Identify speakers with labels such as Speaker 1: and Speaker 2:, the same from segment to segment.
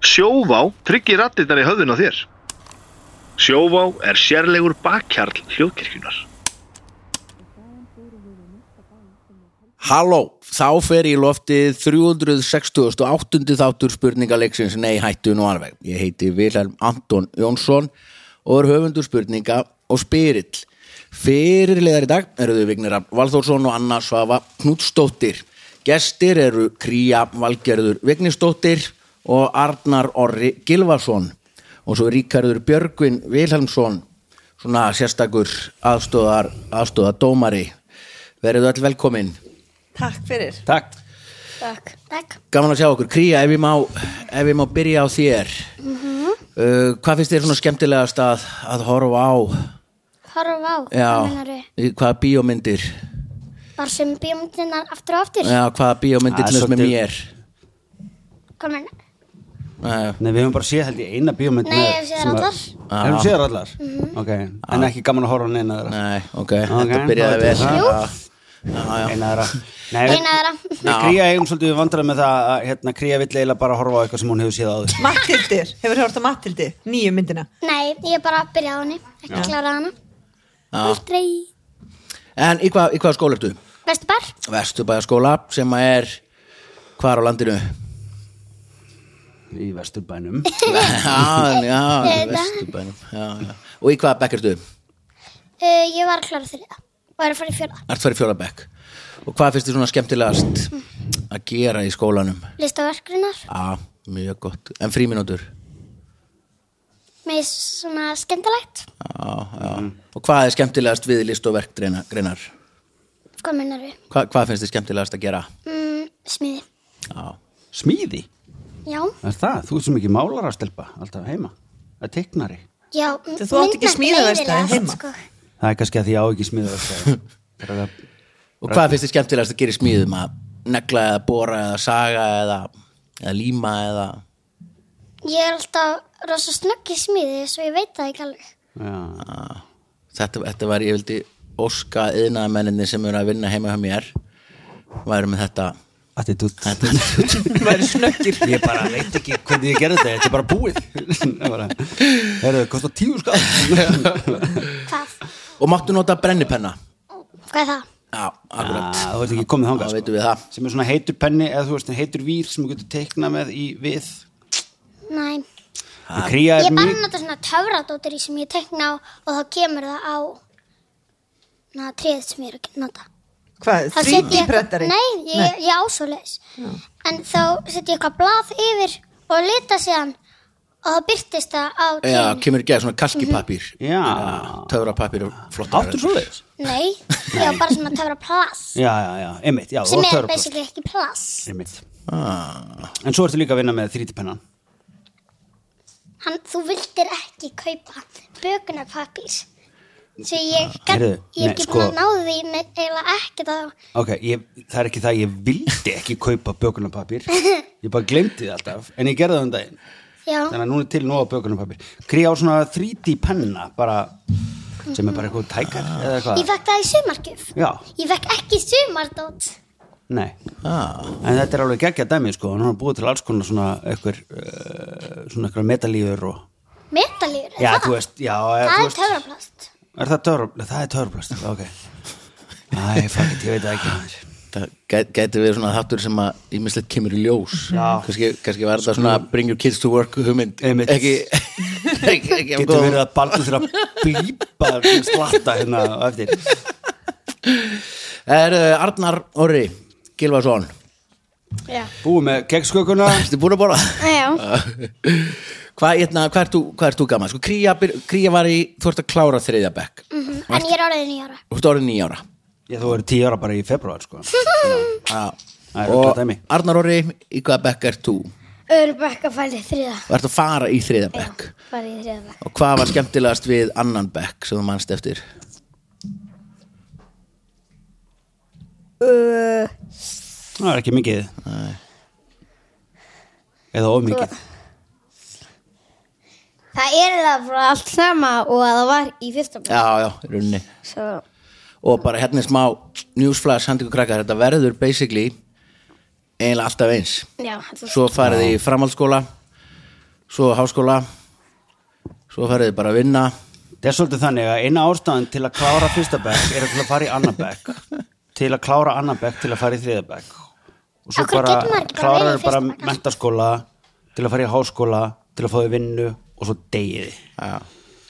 Speaker 1: Sjóvá tryggir rattirnar í höfðun á þér. Sjóvá er sérlegur bakkjarl hljóðkirkjunar.
Speaker 2: Halló, þá fer í loftið 368. þáttur spurningaleiksins Nei, hættu nú alveg. Ég heiti Vilhelm Anton Jónsson og er höfundur spurninga og spyrill. Fyrirlegar í dag eru þau Vignir Rafn Valþórsson og Anna Svafa Knútsdóttir. Gestir eru Kría Valgerður Vignisdóttir og Arnar Orri Gilvason og svo er Ríkarður Björgvin Vilhelmsson, svona sérstakur aðstóðar, aðstóðadómari. Verið öll velkomin.
Speaker 3: Takk fyrir.
Speaker 2: Takk.
Speaker 4: Takk. Takk.
Speaker 2: Gaman að sjá okkur. Kría, ef ég má, ef ég má byrja á þér. uh, hvað finnst þér svona skemmtilegast að, að horfa á?
Speaker 4: Horfa á,
Speaker 2: Já,
Speaker 4: hvað mennarðu?
Speaker 2: í hvaða bíómyndir?
Speaker 4: Bara sem bíómyndinar aftur og aftur.
Speaker 2: Já, hvaða bíómyndir
Speaker 5: Það er
Speaker 2: til þess með
Speaker 5: svolítið-
Speaker 2: mér?
Speaker 4: Komin,
Speaker 2: Uh,
Speaker 5: Nei, við höfum bara séð held ég eina bíómynd
Speaker 4: Nei,
Speaker 5: með-
Speaker 4: ég hef séð
Speaker 5: sem að-
Speaker 4: allar. Mhm.
Speaker 2: Já.
Speaker 5: Hefur séð þær allar? Ok, en ekki gaman að horfa á neina þeirra
Speaker 2: nei, ok,
Speaker 5: Ok,
Speaker 2: þetta byrjaði
Speaker 5: það
Speaker 2: vel.
Speaker 5: er það.
Speaker 2: Já, já, já.
Speaker 5: Eina þeirra Nei, við-
Speaker 4: eina þeirra.
Speaker 5: við kría eigum svolítið vandræð með það að hérna, kría vill eiginlega bara horfa á eitthvað sem hún hefur séð áður
Speaker 3: Mattildir, hefur hort á Mattildi, nýju myndina.
Speaker 4: Nei, ég bara byrjaði á henni, ekki kláraði hana. Aldrei.
Speaker 2: En í hvað, í hvað skóla ertu?
Speaker 4: Vestu bar?
Speaker 2: Vesturbæðaskóla sem að er hvar á landinu?
Speaker 5: Í vesturbænum
Speaker 2: já, já, í
Speaker 4: Þetta.
Speaker 2: Vesturbænum. Já, já. Og í hvaða bekk ertu?
Speaker 4: Uh, ég var að klára þriða og er að fara í fjóla.
Speaker 2: Ert farið fjóra bekk. Og hvað finnst þér svona skemmtilegast að gera í skólanum?
Speaker 4: Listaverkgrunar
Speaker 2: Já, mjög gott. En fríminútur?
Speaker 4: með svona skemmtilegt.
Speaker 2: Já, já. Og hvað er skemmtilegast við list og verkgreinar?
Speaker 4: Hvað mennarðu?
Speaker 2: Hva, hvað finnst þið skemmtilegast að gera?
Speaker 4: Mm, smiði.
Speaker 2: Já,
Speaker 5: Smíði?
Speaker 4: Já,
Speaker 5: Er það? Þú ert svo mikið málar alltaf, alltaf heima Að teiknari
Speaker 4: já.
Speaker 3: Þú- þú átt ekki
Speaker 4: myndmælt
Speaker 3: smíðaverkstæði
Speaker 4: leiðilegast,
Speaker 3: heima?
Speaker 4: Sko.
Speaker 5: Það er kannski að því ég á ekki smíða Það er að
Speaker 2: Og hvað finnst þið skemmtilegast að gera í smíðum? Að negla eða bóra eða saga eða, eða líma eða...
Speaker 4: Ég er alltaf rosa snögg í smíði svo ég veit það ekki alveg.
Speaker 5: Já,
Speaker 2: Þetta, þetta var, ég vildi óska yðnaðamenninni sem eru að vinna heima hjá mér væri með þetta
Speaker 5: attitút
Speaker 3: Það væri snöggir.
Speaker 5: Ég bara veit ekki hvernig ég gerði þetta Þetta er bara búið Það er bara, Herðu, kostar tíu skall
Speaker 4: Hvað?
Speaker 2: Og máttu nota brennipenna?
Speaker 4: Hvað er það?
Speaker 2: Já, akkurat.
Speaker 5: Ah, þú veit ekki komið þangað
Speaker 2: Þá
Speaker 5: sko.
Speaker 2: veitum við það.
Speaker 5: sem er svona heitur penni eða þú veist heitur vír sem þú getur teiknað með í við
Speaker 4: Næ.
Speaker 5: og kría
Speaker 4: Ég
Speaker 5: er
Speaker 4: bara
Speaker 5: mjög
Speaker 4: nota svona töfradóttir í sem ég tekna á og þá kemur það á na, tréð sem ég er að nota.
Speaker 3: Hvað,
Speaker 4: Þá set ég-
Speaker 3: 3D-brettari?
Speaker 4: Nei, ég, ég ásóleis. En þá setjum ég eitthvað blað yfir og lita síðan og þá byrtist það á
Speaker 2: Já,
Speaker 4: tréð.
Speaker 2: kemur í geða svona kalkipapír.
Speaker 5: Já.
Speaker 2: Töfrapapír og flottar.
Speaker 5: áttur svo leiðis
Speaker 4: Nei, ég var bara svona töfraplass
Speaker 5: já, já, já, einmitt, já,
Speaker 4: sem
Speaker 5: og
Speaker 4: er
Speaker 5: töfraplast.
Speaker 4: basically ekki plass.
Speaker 5: einmitt.
Speaker 2: Ah,
Speaker 5: en svo ertu líka að vinna með þrítipennan
Speaker 4: Hann, þú vildir ekki kaupa bökunarpapír. Svo ég, gat,
Speaker 5: Heyrðu,
Speaker 4: ég
Speaker 5: nei,
Speaker 4: er ekki
Speaker 5: sko-
Speaker 4: búin að náði því með eiginlega ekkert að
Speaker 5: ok, ég, það er ekki það, ég vildi ekki kaupa bökunarpapír ég bara glemdi það alltaf, en ég gerði það um daginn
Speaker 4: Já,
Speaker 5: þannig að núna er til nóga bökunarpapír kría á svona þrítipenna bara, sem er bara eitthvað tækar eða
Speaker 4: ég
Speaker 5: eitthvað,
Speaker 4: fekk það í sumargjöf.
Speaker 5: já,
Speaker 4: Ég fekk ekki sumardót.
Speaker 5: nei
Speaker 2: ah.
Speaker 5: En þetta er alveg geggja dæmi sko, hann er búið til alls konar svona einhver, uh, svona einhver metalífur og
Speaker 4: Metalífur, er
Speaker 5: Já,
Speaker 4: það?
Speaker 5: þú veist, já
Speaker 4: það
Speaker 5: þú
Speaker 4: er
Speaker 5: veist,
Speaker 4: töfraplast.
Speaker 5: Er það töfraplast? Það er töfraplast, ok Æ, fuck it, ég veit það ekki maður.
Speaker 2: það gæ- gæti verið svona þáttur sem að ímislegt kemur í ljós kannski, kannski var þetta svona bring your kids to work hugmynd
Speaker 5: Sko- Einmitt.
Speaker 2: ekki ekki, ekki af
Speaker 5: Getur
Speaker 2: góðum-
Speaker 5: verið að baldur þurfa að blípa slatta hérna á eftir
Speaker 2: er uh, Arnar Orri Gilvason,
Speaker 4: Já.
Speaker 5: Búið með gegnskökuna
Speaker 2: ertu búin að borða?
Speaker 4: Já.
Speaker 2: hvað hérna, hva ert þú, hva ert þú gaman? Sko, kría, byr- kría var í, þú ert að klára þriðja bekk
Speaker 4: Mhm, En ég er orðið nýjára.
Speaker 2: þú ert orðin nýjára
Speaker 5: Ég þú verið tíu ára bara í februar sko Það er
Speaker 2: og
Speaker 5: öll dæmi
Speaker 2: Arnar Orri, í hvaða bekk ert þú?
Speaker 4: Örbekka fælið þriða.
Speaker 2: og ert að fara í þriðja bekk
Speaker 4: Fælið þriða bekk.
Speaker 2: og hvað var skemmtilegast við annan bekk sem þú manst eftir?
Speaker 5: Það er ekki mikið Eða of mikið
Speaker 6: Það er það frá allt sama og að það var í fyrsta bæk.
Speaker 2: já, já, í rauninni
Speaker 6: Svo,
Speaker 2: og bara hérna er smá newsflash handi ykkur krakkar, þetta verður basically eiginlega alltaf eins
Speaker 6: já, þetta
Speaker 2: svo farið þið í framhaldsskóla svo háskóla svo farið þið bara að vinna
Speaker 5: Það er svolítið þannig að eina ástæðan til að klára fyrsta bekk er til að fara í annan bekk til að klára annan bekk til að fara í þriða bekk og svo
Speaker 4: Af hverju
Speaker 5: bara
Speaker 4: getur maður ekki bara verið í
Speaker 5: kláraðu
Speaker 4: fyrsta
Speaker 5: bara
Speaker 4: bekk?
Speaker 5: mentaskóla til að fara í háskóla til að fá því vinnu og svo degiði
Speaker 2: já.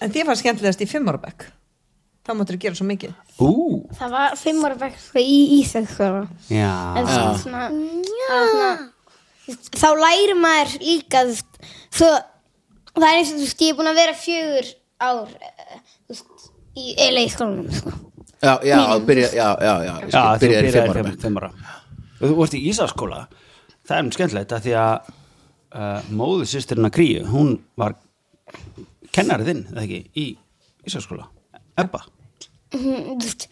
Speaker 3: En þið var skemmtilegast í fimm ára bekk Þá máttur gera svo mikið
Speaker 5: Ú,
Speaker 6: Það var fimm ára bekk sko í Íþjóðskóla.
Speaker 5: já
Speaker 6: En svona, svona, það var svona, þá læri maður líka, þú veist, svo, það er eins og, þú veist, ég er búin að vera fjögur ár, eh, þú veist, í eila í skólanum, sko.
Speaker 2: já, já, að byrja já, já, já,
Speaker 5: Já,
Speaker 2: ég skil,
Speaker 5: þú
Speaker 2: byrjaði í
Speaker 5: byrjaði
Speaker 2: fimm ára
Speaker 5: fimm,
Speaker 2: bekk.
Speaker 5: fimm ára og þú vart í Ísaskóla það er mjög skemmtilegt að því að uh, móðu sýstirina Kríu hún var kennarið þinn, eða ekki, í Ísaskóla Ebba
Speaker 6: Hún, þú veist,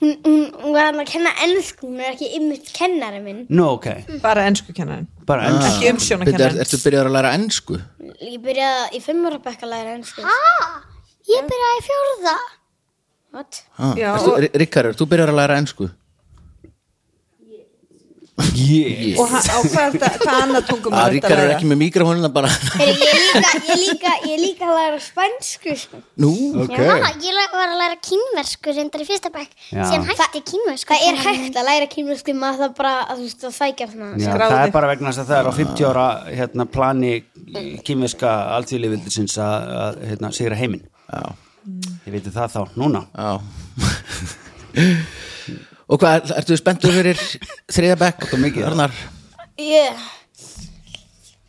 Speaker 6: hún, hún, hún var hann að kenna ennsku, hún er ekki ymmit kennari minn.
Speaker 5: Nú, ok,
Speaker 3: Bara ensku kennarinn
Speaker 2: Ah.
Speaker 5: bara enn
Speaker 3: Ekki
Speaker 2: Byrja, er,
Speaker 3: umsjónakennarinn
Speaker 2: ertu byrjaður að læra ennsku?
Speaker 6: Ég byrjaði í fimm ára bekk að læra ennsku.
Speaker 4: Ah, ég byrjaði í fjórða.
Speaker 6: What?
Speaker 2: Ah,
Speaker 3: Já,
Speaker 2: ertu,
Speaker 3: og-
Speaker 2: og... Rikkar, er þú byrjaður að læra ennsku?
Speaker 5: yeah.
Speaker 3: Og hann, á hvað er þetta, hvað annað tungum
Speaker 2: að Rikkar Ah, er ekki með mikrofónina bara
Speaker 6: Heyrðu, Ég líka, ég líka, ég líka að læra spænsku, sko.
Speaker 2: nú,
Speaker 4: Já, ég la- var að læra kínversku reyndar í fyrsta bekk.
Speaker 5: Já.
Speaker 4: Síðan hætti kínversku.
Speaker 6: Það er hægt að læra kínversku maður það bara að þú veist að sækja svona
Speaker 5: Já,
Speaker 3: skráði.
Speaker 5: það er bara vegna þess að það er á 50 ára hérna, plani kýmiska alltíðlifildisins að að, hérna, sigra heiminn
Speaker 2: já,
Speaker 5: ég veit það þá, núna
Speaker 2: já og hvað, ertu spenntur fyrir þriða bekk,
Speaker 5: mikið,
Speaker 2: Arnar
Speaker 6: Ég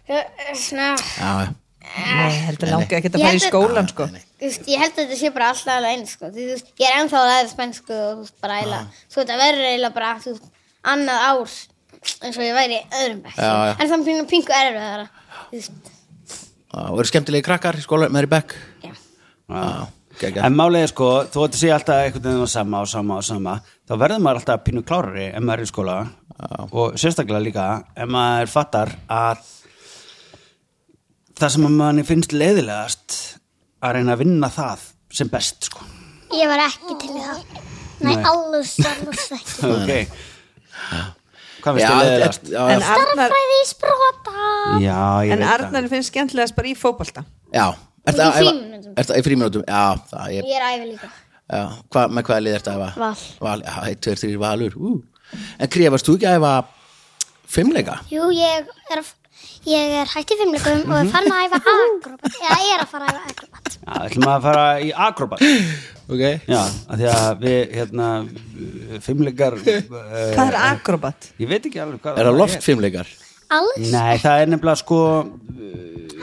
Speaker 6: Ég- Svona
Speaker 2: já, já,
Speaker 3: Nei, heldur langið ekki að fara í skólan sko
Speaker 6: Þú veist, ég held að þetta sé bara alltaf alveg eins sko. Því, þú veist, ég er ennþá að læra spænsku og þú veist bara eila Svo þetta verður eila bara þú veist, annað ár eins og ég væri í öðrum bekk
Speaker 2: Já, já.
Speaker 6: En þannig pingu, pingu erfiðara Þú veist,
Speaker 2: já, og eru skemmtilegi krakkar í skóla með þér í bekk
Speaker 6: já
Speaker 2: já, geggjað.
Speaker 5: en málið er sko, þú ætti að segja alltaf einhvern veginn og sama og sama og sama þá verður maður alltaf pínu klárari ef maður er í skóla og sérstaklega líka ef maður fattar að það sem að manni finnst leiðilegast að reyna að vinna það sem best sko
Speaker 4: Ég var ekki til í það. Nei, alls, alls ekki.
Speaker 5: ok hvað finnst þið
Speaker 2: Já, já,
Speaker 5: leiðilegast?
Speaker 2: já,
Speaker 3: En Arnar,
Speaker 4: Fræði í sprota.
Speaker 5: Já, ég
Speaker 3: en
Speaker 5: veit það
Speaker 3: Arnar finnst skemmtilegast bara í fótbolta
Speaker 2: já, er
Speaker 6: Í
Speaker 2: það
Speaker 6: frímínútum.
Speaker 2: er það í fríminútum, já, það er
Speaker 6: Ég er æfi líka
Speaker 2: já, hva, með hvaða lið er þetta að æfa?
Speaker 6: Val.
Speaker 2: val, já, eitt, tveir, þrýr valur ú. en Kríja, varst þú ekki að æfa fimmleika?
Speaker 4: Jú, ég er, að- ég er hætti fimmleikum og er farin að æfa akrobat. Já, ég er að fara að æfa akrobat.
Speaker 5: Já, ætlum að fara í akrobat
Speaker 2: ok,
Speaker 5: Já, af því að við hérna fimmleikar uh,
Speaker 3: Hvað er akrobat?
Speaker 5: eh, Ég veit ekki alveg hvað
Speaker 2: er það loftfimmleikar?
Speaker 4: Alls.
Speaker 5: Nei, það er nefnilega sko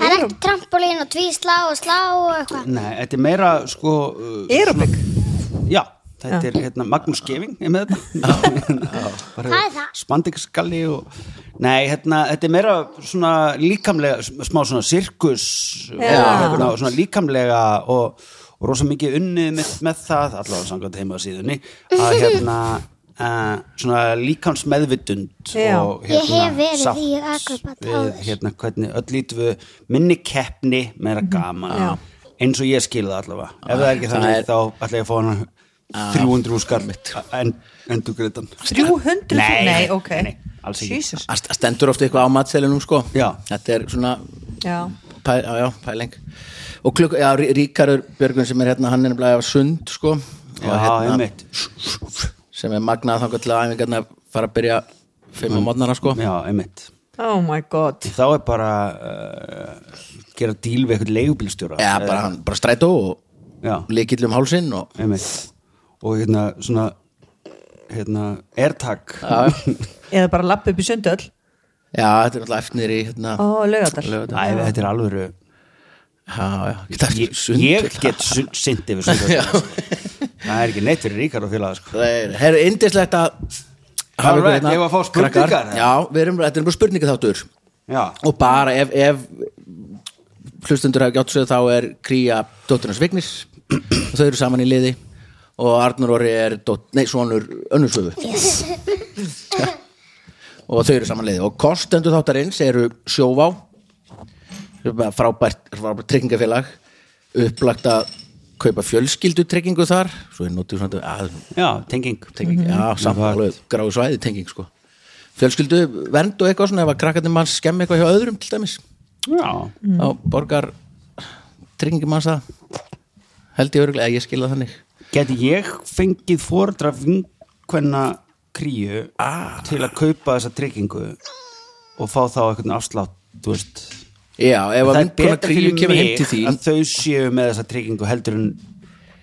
Speaker 4: Það er ekki trampolín og tvíslá og slá og eitthvað.
Speaker 5: Nei, þetta er meira sko uh,
Speaker 3: Aerobik
Speaker 5: Já, þetta er hérna Magnús Geving er með þetta
Speaker 4: Það er það.
Speaker 5: Spandingskalli og Nei, hérna, þetta er meira svona líkamlega, smá svona sirkus og
Speaker 3: Já.
Speaker 5: hérna, svona líkamlega og, og rosa mikið unnið með, með það, allavega samkvæmt heima á síðunni að hérna Uh, svona líkans meðvitund
Speaker 3: Já.
Speaker 5: og
Speaker 4: Ég
Speaker 5: hérna
Speaker 4: hef verið
Speaker 5: sátt
Speaker 4: í akrobat áður.
Speaker 5: við hérna hvernig öll lítum við minni keppni meira
Speaker 4: Mhm.
Speaker 5: gaman
Speaker 3: Já.
Speaker 5: eins og ég skil það allavega ef það er ekki
Speaker 2: Það
Speaker 5: þannig
Speaker 2: er- Ah.
Speaker 5: þá ætla ég að fá hana 300 úr skarlitt en, endur greitan
Speaker 3: 300
Speaker 5: Nei,
Speaker 3: nei, ok
Speaker 5: nei, alls ekki.
Speaker 3: Jesus.
Speaker 2: Það st- stendur ofta eitthvað á matselinum sko
Speaker 5: Já.
Speaker 2: Þetta er svona
Speaker 3: Já.
Speaker 2: pæ, já, já, pæling Og klukk, já, Rí- Ríkarur Björgun sem er hérna, hann er nefnilega af sund sko Og
Speaker 5: Já, einmitt.
Speaker 2: Sem er magnað þangað til að æfingarna fara að byrja Fimm
Speaker 5: Mm.
Speaker 2: á mótnana sko
Speaker 5: já, einmitt
Speaker 3: Oh my god
Speaker 5: þá er bara uh, gera díl við eitthvað leigubílstjóra
Speaker 2: Já, bara, hann, bara strætó og
Speaker 5: já,
Speaker 2: líkill um hálsinn og
Speaker 5: einmitt og hérna svona hérna, airtag
Speaker 3: Eða bara lappa upp í sundöll
Speaker 2: Já, þetta er alltaf efnir í hérna
Speaker 3: Ó, laugadal
Speaker 2: Laugardal.
Speaker 5: Æ, þetta er alveg
Speaker 2: Já, já, geta
Speaker 5: ég,
Speaker 2: sund
Speaker 5: ég get sun- synt yfir sundur það er ekki neitt fyrir ríkar og félaga sko.
Speaker 2: Það er indislegt að hafa
Speaker 5: All
Speaker 2: ykkur hérna,
Speaker 5: right, eigum við að fá spurningar,
Speaker 2: krakkar.
Speaker 5: eða?
Speaker 2: Já, við erum, þetta er bara spurninga þáttur
Speaker 5: já,
Speaker 2: og bara ef, ef hlustundur hafa gjátt sig þá er Kría dótturnas Vignis og þau eru saman í liði og Arnur Orri er dótt, nei, sonur önnursöfu yes. og þau eru saman í liði og kostendur þáttarins eru Sjóvá sem er bara frábært, frábært tryggingafélag upplagt að kaupa fjölskyldutryggingu þar svo er notið svona að,
Speaker 5: já, tenging
Speaker 2: tenging, já, samt alveg gráðu svæði tenging sko fjölskyldu vernd og eitthvað svona ef að krakkarnir mann skemmi eitthvað hjá öðrum til dæmis
Speaker 5: Já,
Speaker 2: þá borgar tryggingumassa held ég örgulega, ég skilða þannig
Speaker 5: geti ég fengið fórdra vinkvenna kríu til að kaupa þessa tryggingu og fá þá eitthvað afslátt, þú veist
Speaker 2: já, ef að
Speaker 5: það er
Speaker 2: vinkona
Speaker 5: betra
Speaker 2: kríu
Speaker 5: fyrir
Speaker 2: kemur heim til
Speaker 5: mig
Speaker 2: þín
Speaker 5: að þau séu með þessa tryggingu heldur en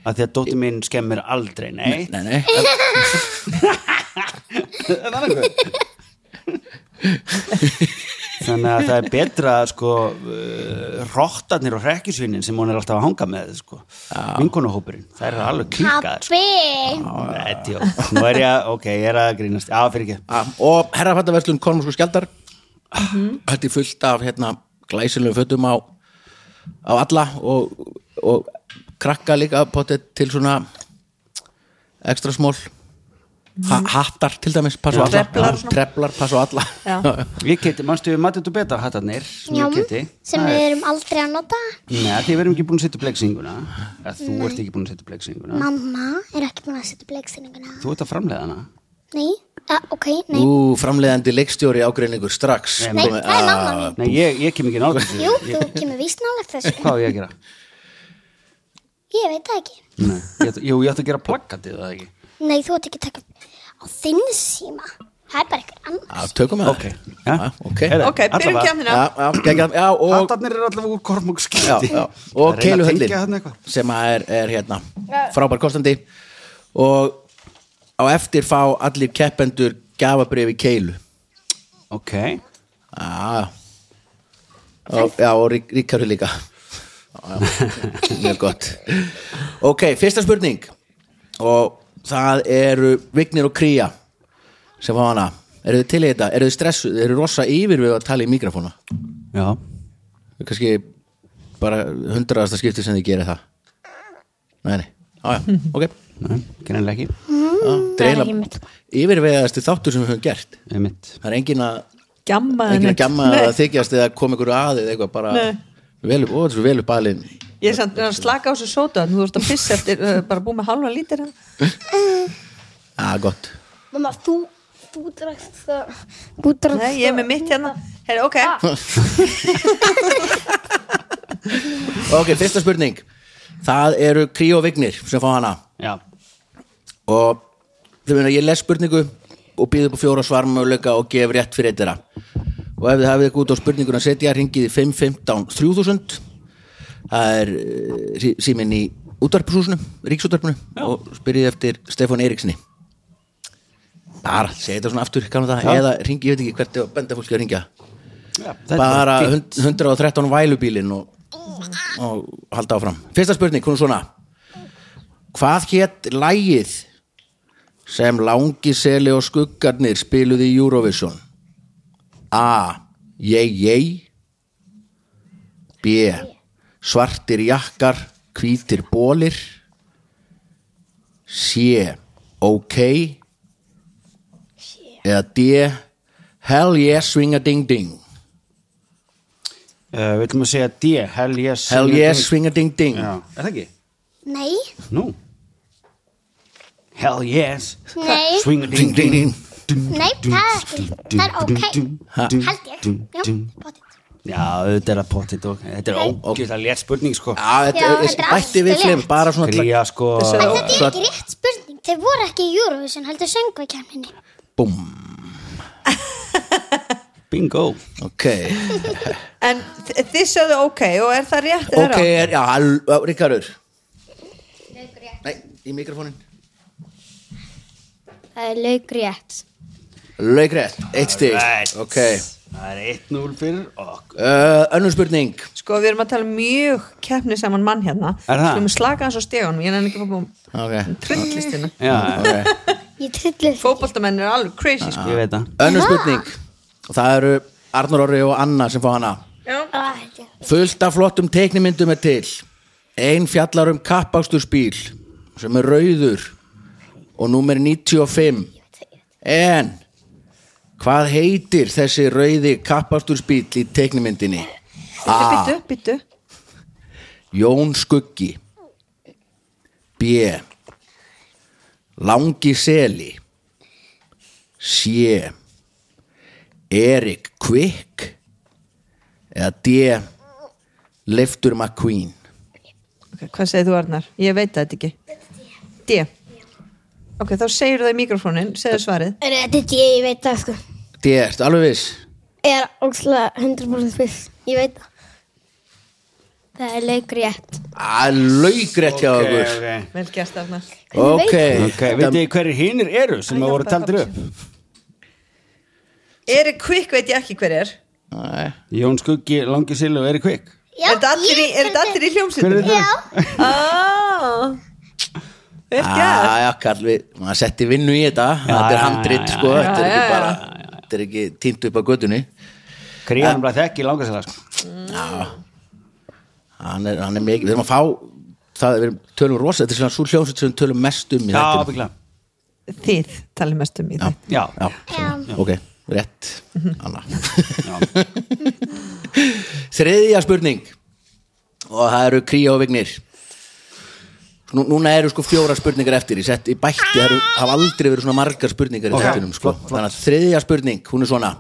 Speaker 5: að því að dóttir minn skemmir aldrei, nei,
Speaker 2: nei, nei,
Speaker 5: þannig að það er betra sko, uh, rottarnir og hrekkjusvinin sem hún er alltaf að hanga með sko. vinkonuhópurinn, það er alveg klíkaðar sko.
Speaker 4: Pabbi.
Speaker 5: Nei, djók. nú er ég að, ok, ég er að grínast já, fyrir ekki,
Speaker 2: Ah, og herrafattaverslun Kormúsku Skjaldar þetta er fullt af hérna glæsilegum fötum á, á alla og, og krakka líka potið til svona ekstra smól ha hattar til dæmis, passa á alla
Speaker 3: Mhm. Treflar og svona.
Speaker 2: treflar passa á alla
Speaker 3: Já.
Speaker 5: við geti, mannstu við matið þú beta hattarnir, sem
Speaker 4: Já,
Speaker 5: við geti
Speaker 4: sem við erum aldrei að nota.
Speaker 5: Nei, því við erum ekki búin að setja upp leiksinguna eða þú ert ekki búin að setja upp leiksinguna
Speaker 4: Mamma er ekki búin að setja upp leiksinninguna.
Speaker 5: þú ert að framlega hana
Speaker 4: Nei, uh, ok, nei.
Speaker 2: Ú, framleiðandi leikstjóri ágreiningur
Speaker 5: Nei,
Speaker 2: strax
Speaker 4: Nei,
Speaker 2: Komið-
Speaker 4: það er mamma
Speaker 2: Ah,
Speaker 4: mín.
Speaker 5: Nei, ég, ég kem ekki nátt
Speaker 4: Jú,
Speaker 5: ég,
Speaker 4: þú kemur víst nálægt þessu.
Speaker 5: Hvað á ég að gera?
Speaker 4: Ég veit það ekki.
Speaker 5: Nei, ég, ætla- jú, ég ætti að gera plakkatið, það ekki
Speaker 4: Nei, þú ert ekki að taka upp á þinn síma. Það er bara einhver annar.
Speaker 2: ah, tökum við það
Speaker 5: Ok.
Speaker 2: ah, ok
Speaker 5: Heyrðu,
Speaker 3: Ok, byrjum
Speaker 5: allavega.
Speaker 2: já,
Speaker 3: kemina
Speaker 2: já, geggjað. já, og,
Speaker 5: Hattarnir eru allavega úr
Speaker 2: já,
Speaker 5: kormungskildi
Speaker 2: já, og keiluhöllin
Speaker 5: Ég
Speaker 2: sem að er, er hérna frábær kostandi og á eftir fá allir keppendur gafabrifi keilu ah. og, já, og rík, ríkari líka Já, já. mjög gott ok, fyrsta spurning og það eru Vignir og Kría sem fá hana eru þið til í þetta, eru þið stressu eru rosa yfir við að tala í mikrofóna
Speaker 5: Já,
Speaker 2: Það er kannski bara hundraðasta skipti sem þið gerir það nei, nei, ája, ok
Speaker 3: Mm,
Speaker 5: nei, greinlega ekki
Speaker 2: það er eiginlega yfirvegaðasti þáttur sem við höfum gert
Speaker 5: Ég mitt
Speaker 2: það er engin að
Speaker 3: Gjamma
Speaker 2: engin að gjamma
Speaker 3: Ah, Nei,
Speaker 2: að þykjast eða koma ykkur að eða eitthvað bara
Speaker 3: Nei.
Speaker 2: vel upp, ó, þessu vel upp alinn
Speaker 3: Ég er samt að slaka á þessu sóta Þú ert að pissa eftir, uh, bara búið með hérna. halva lítir
Speaker 2: að Ah, gott
Speaker 6: Mamma, þú, þú drakst það. Þú drakst
Speaker 3: Nei, ég er með mitt hérna Heri, Ok,
Speaker 2: ok, fyrsta spurning það eru Krí og Vignir sem fá hana
Speaker 5: Já,
Speaker 2: og þau meina ég les spurningu og býð upp á fjóra svarmöguleika og gef rétt fyrir eitt þeirra og ef þið hafið ekki út á spurninguna að setja ringið í 515 3000 það er eh, síminn í útvarpshúsinu, ríksútvarpinu og spyrjið eftir Stefán Eiríksni bara, segja þetta svona aftur kannan það, eða ringi, ég veit ekki hvert að benda fólki að ringja
Speaker 5: Já þetta
Speaker 2: bara
Speaker 5: er fínt.
Speaker 2: hund- 113 vælubílin og, og halda áfram fyrsta spurning, hún er svona hvað hétt lægið sem Langiseli og skuggarnir spiluði í Eurovision A ég ég B svartir jakkar hvítir bólir C ok eða D hell yes swinga ding ding
Speaker 5: Uh, Við ætlum að segja D, hell yes
Speaker 2: Hell
Speaker 5: Sing a
Speaker 2: yes,
Speaker 5: ding.
Speaker 2: swing a ding ding
Speaker 5: Já, er það ekki?
Speaker 4: Nei,
Speaker 5: Nú Hell yes
Speaker 2: Eh?
Speaker 4: Nei.
Speaker 5: Swing a
Speaker 2: Ding ding ding
Speaker 4: nei, það er ekki. Það er ok. Held ég. Já, potið.
Speaker 5: Já, þetta er að potið og Þetta er ógjöld að létt spurning sko
Speaker 2: Já, þetta
Speaker 4: Já,
Speaker 2: er-
Speaker 4: þetta er
Speaker 2: bætti við
Speaker 4: allt
Speaker 2: flim
Speaker 4: rétt.
Speaker 2: bara svona til
Speaker 5: Kría sko
Speaker 4: En þetta er
Speaker 2: Svo-
Speaker 4: ekki rétt spurning. Þeir voru ekki í Eurovision, heldur söngu í kemminni.
Speaker 2: Búm,
Speaker 5: Bingo
Speaker 2: ok
Speaker 3: en þi- þið sögðu ok Og er það rétt
Speaker 2: Ok,
Speaker 3: eða rangt?
Speaker 2: er, já, al- já, Ríkarur Nei, í mikrofónin
Speaker 6: Það er laugrétt.
Speaker 2: Laugrætt, eitt stig
Speaker 5: Right.
Speaker 2: Eh, Ok
Speaker 5: Það er 1-0 fyrir okkur
Speaker 2: uh, Önnur spurning
Speaker 3: Sko, við erum að tala um mjög keppni saman mann hérna
Speaker 5: Er það?
Speaker 3: Skulum slaka hans á stegunum Ég nefnir ekki að fá búið
Speaker 2: okay.
Speaker 3: trullistina
Speaker 5: Já,
Speaker 2: ok.
Speaker 4: Ég trillu.
Speaker 3: Fótboltamenn eru alveg crazy sko.
Speaker 5: ég veit það
Speaker 2: Önnur spurning Og Það eru Arnur Orri og Anna sem fá hana
Speaker 3: Já.
Speaker 4: Ah.
Speaker 2: Fullt af flottum teiknimyndum er til Ein fjallar um kappáksturspíl sem er rauður og númer 95 En hvað heitir þessi rauði kappáksturspíl í teiknimyndinni?
Speaker 3: Bittu, bittu,
Speaker 2: Jón Skuggi B Langi Seli C Erik Kvik eða D Leiftur McQueen
Speaker 3: Ok, hvað segir þú Arnar? Ég veit það ekki D Ok, þá segir það í mikrofónin, segðu svarið
Speaker 6: Er þetta ekki, ég veit það sko
Speaker 2: D, ertu alveg viss?
Speaker 6: Ég er ókslega 100% viss Ég veit það Það er leikur rétt
Speaker 2: að laugrætt hjá okkur
Speaker 5: ok,
Speaker 3: Vel gert Arnar
Speaker 2: ok,
Speaker 5: ok, veitir þið hverjir hinnir eru sem að voru taldir upp
Speaker 3: Erik Quick veit ég ekki hver er
Speaker 2: Nei.
Speaker 5: Jón Skuggi, Langi Silu og Eri Kvik
Speaker 4: Já,
Speaker 3: Er þetta allir, í- er
Speaker 4: ég
Speaker 3: þetta
Speaker 4: gerði-
Speaker 3: allir í
Speaker 5: hver
Speaker 3: hljómsveitum?
Speaker 5: er þetta?
Speaker 3: Ah, Vel gert
Speaker 5: Ah.
Speaker 2: Jæja, Karl, við, maður setti vinnu í þetta þetta er
Speaker 5: já,
Speaker 2: handrit,
Speaker 5: já,
Speaker 2: sko
Speaker 5: já,
Speaker 2: þetta er
Speaker 3: já,
Speaker 2: ekki
Speaker 3: já.
Speaker 2: bara, þetta er ekki týnt upp á götunni
Speaker 5: Kríðan bara þekki Langi Sila sko.
Speaker 2: hann er, hann er mikið, við erum að fá það, við erum tölum rosa, þetta er svona svo hljómsveit sem við tölum mest um í
Speaker 5: Já,
Speaker 2: þetta
Speaker 5: byggla
Speaker 3: Þið talið mest um í þetta
Speaker 5: Já,
Speaker 2: já, svona, ok, rétt Anna þriðja spurning og það eru kríja og vignir Nú, núna eru sko fjóra spurningar eftir ég sett í bætti, það eru- hafa aldrei verið svona margar spurningar í
Speaker 5: Ok,
Speaker 2: þettinum sko. þannig að þriðja spurning, hún er svona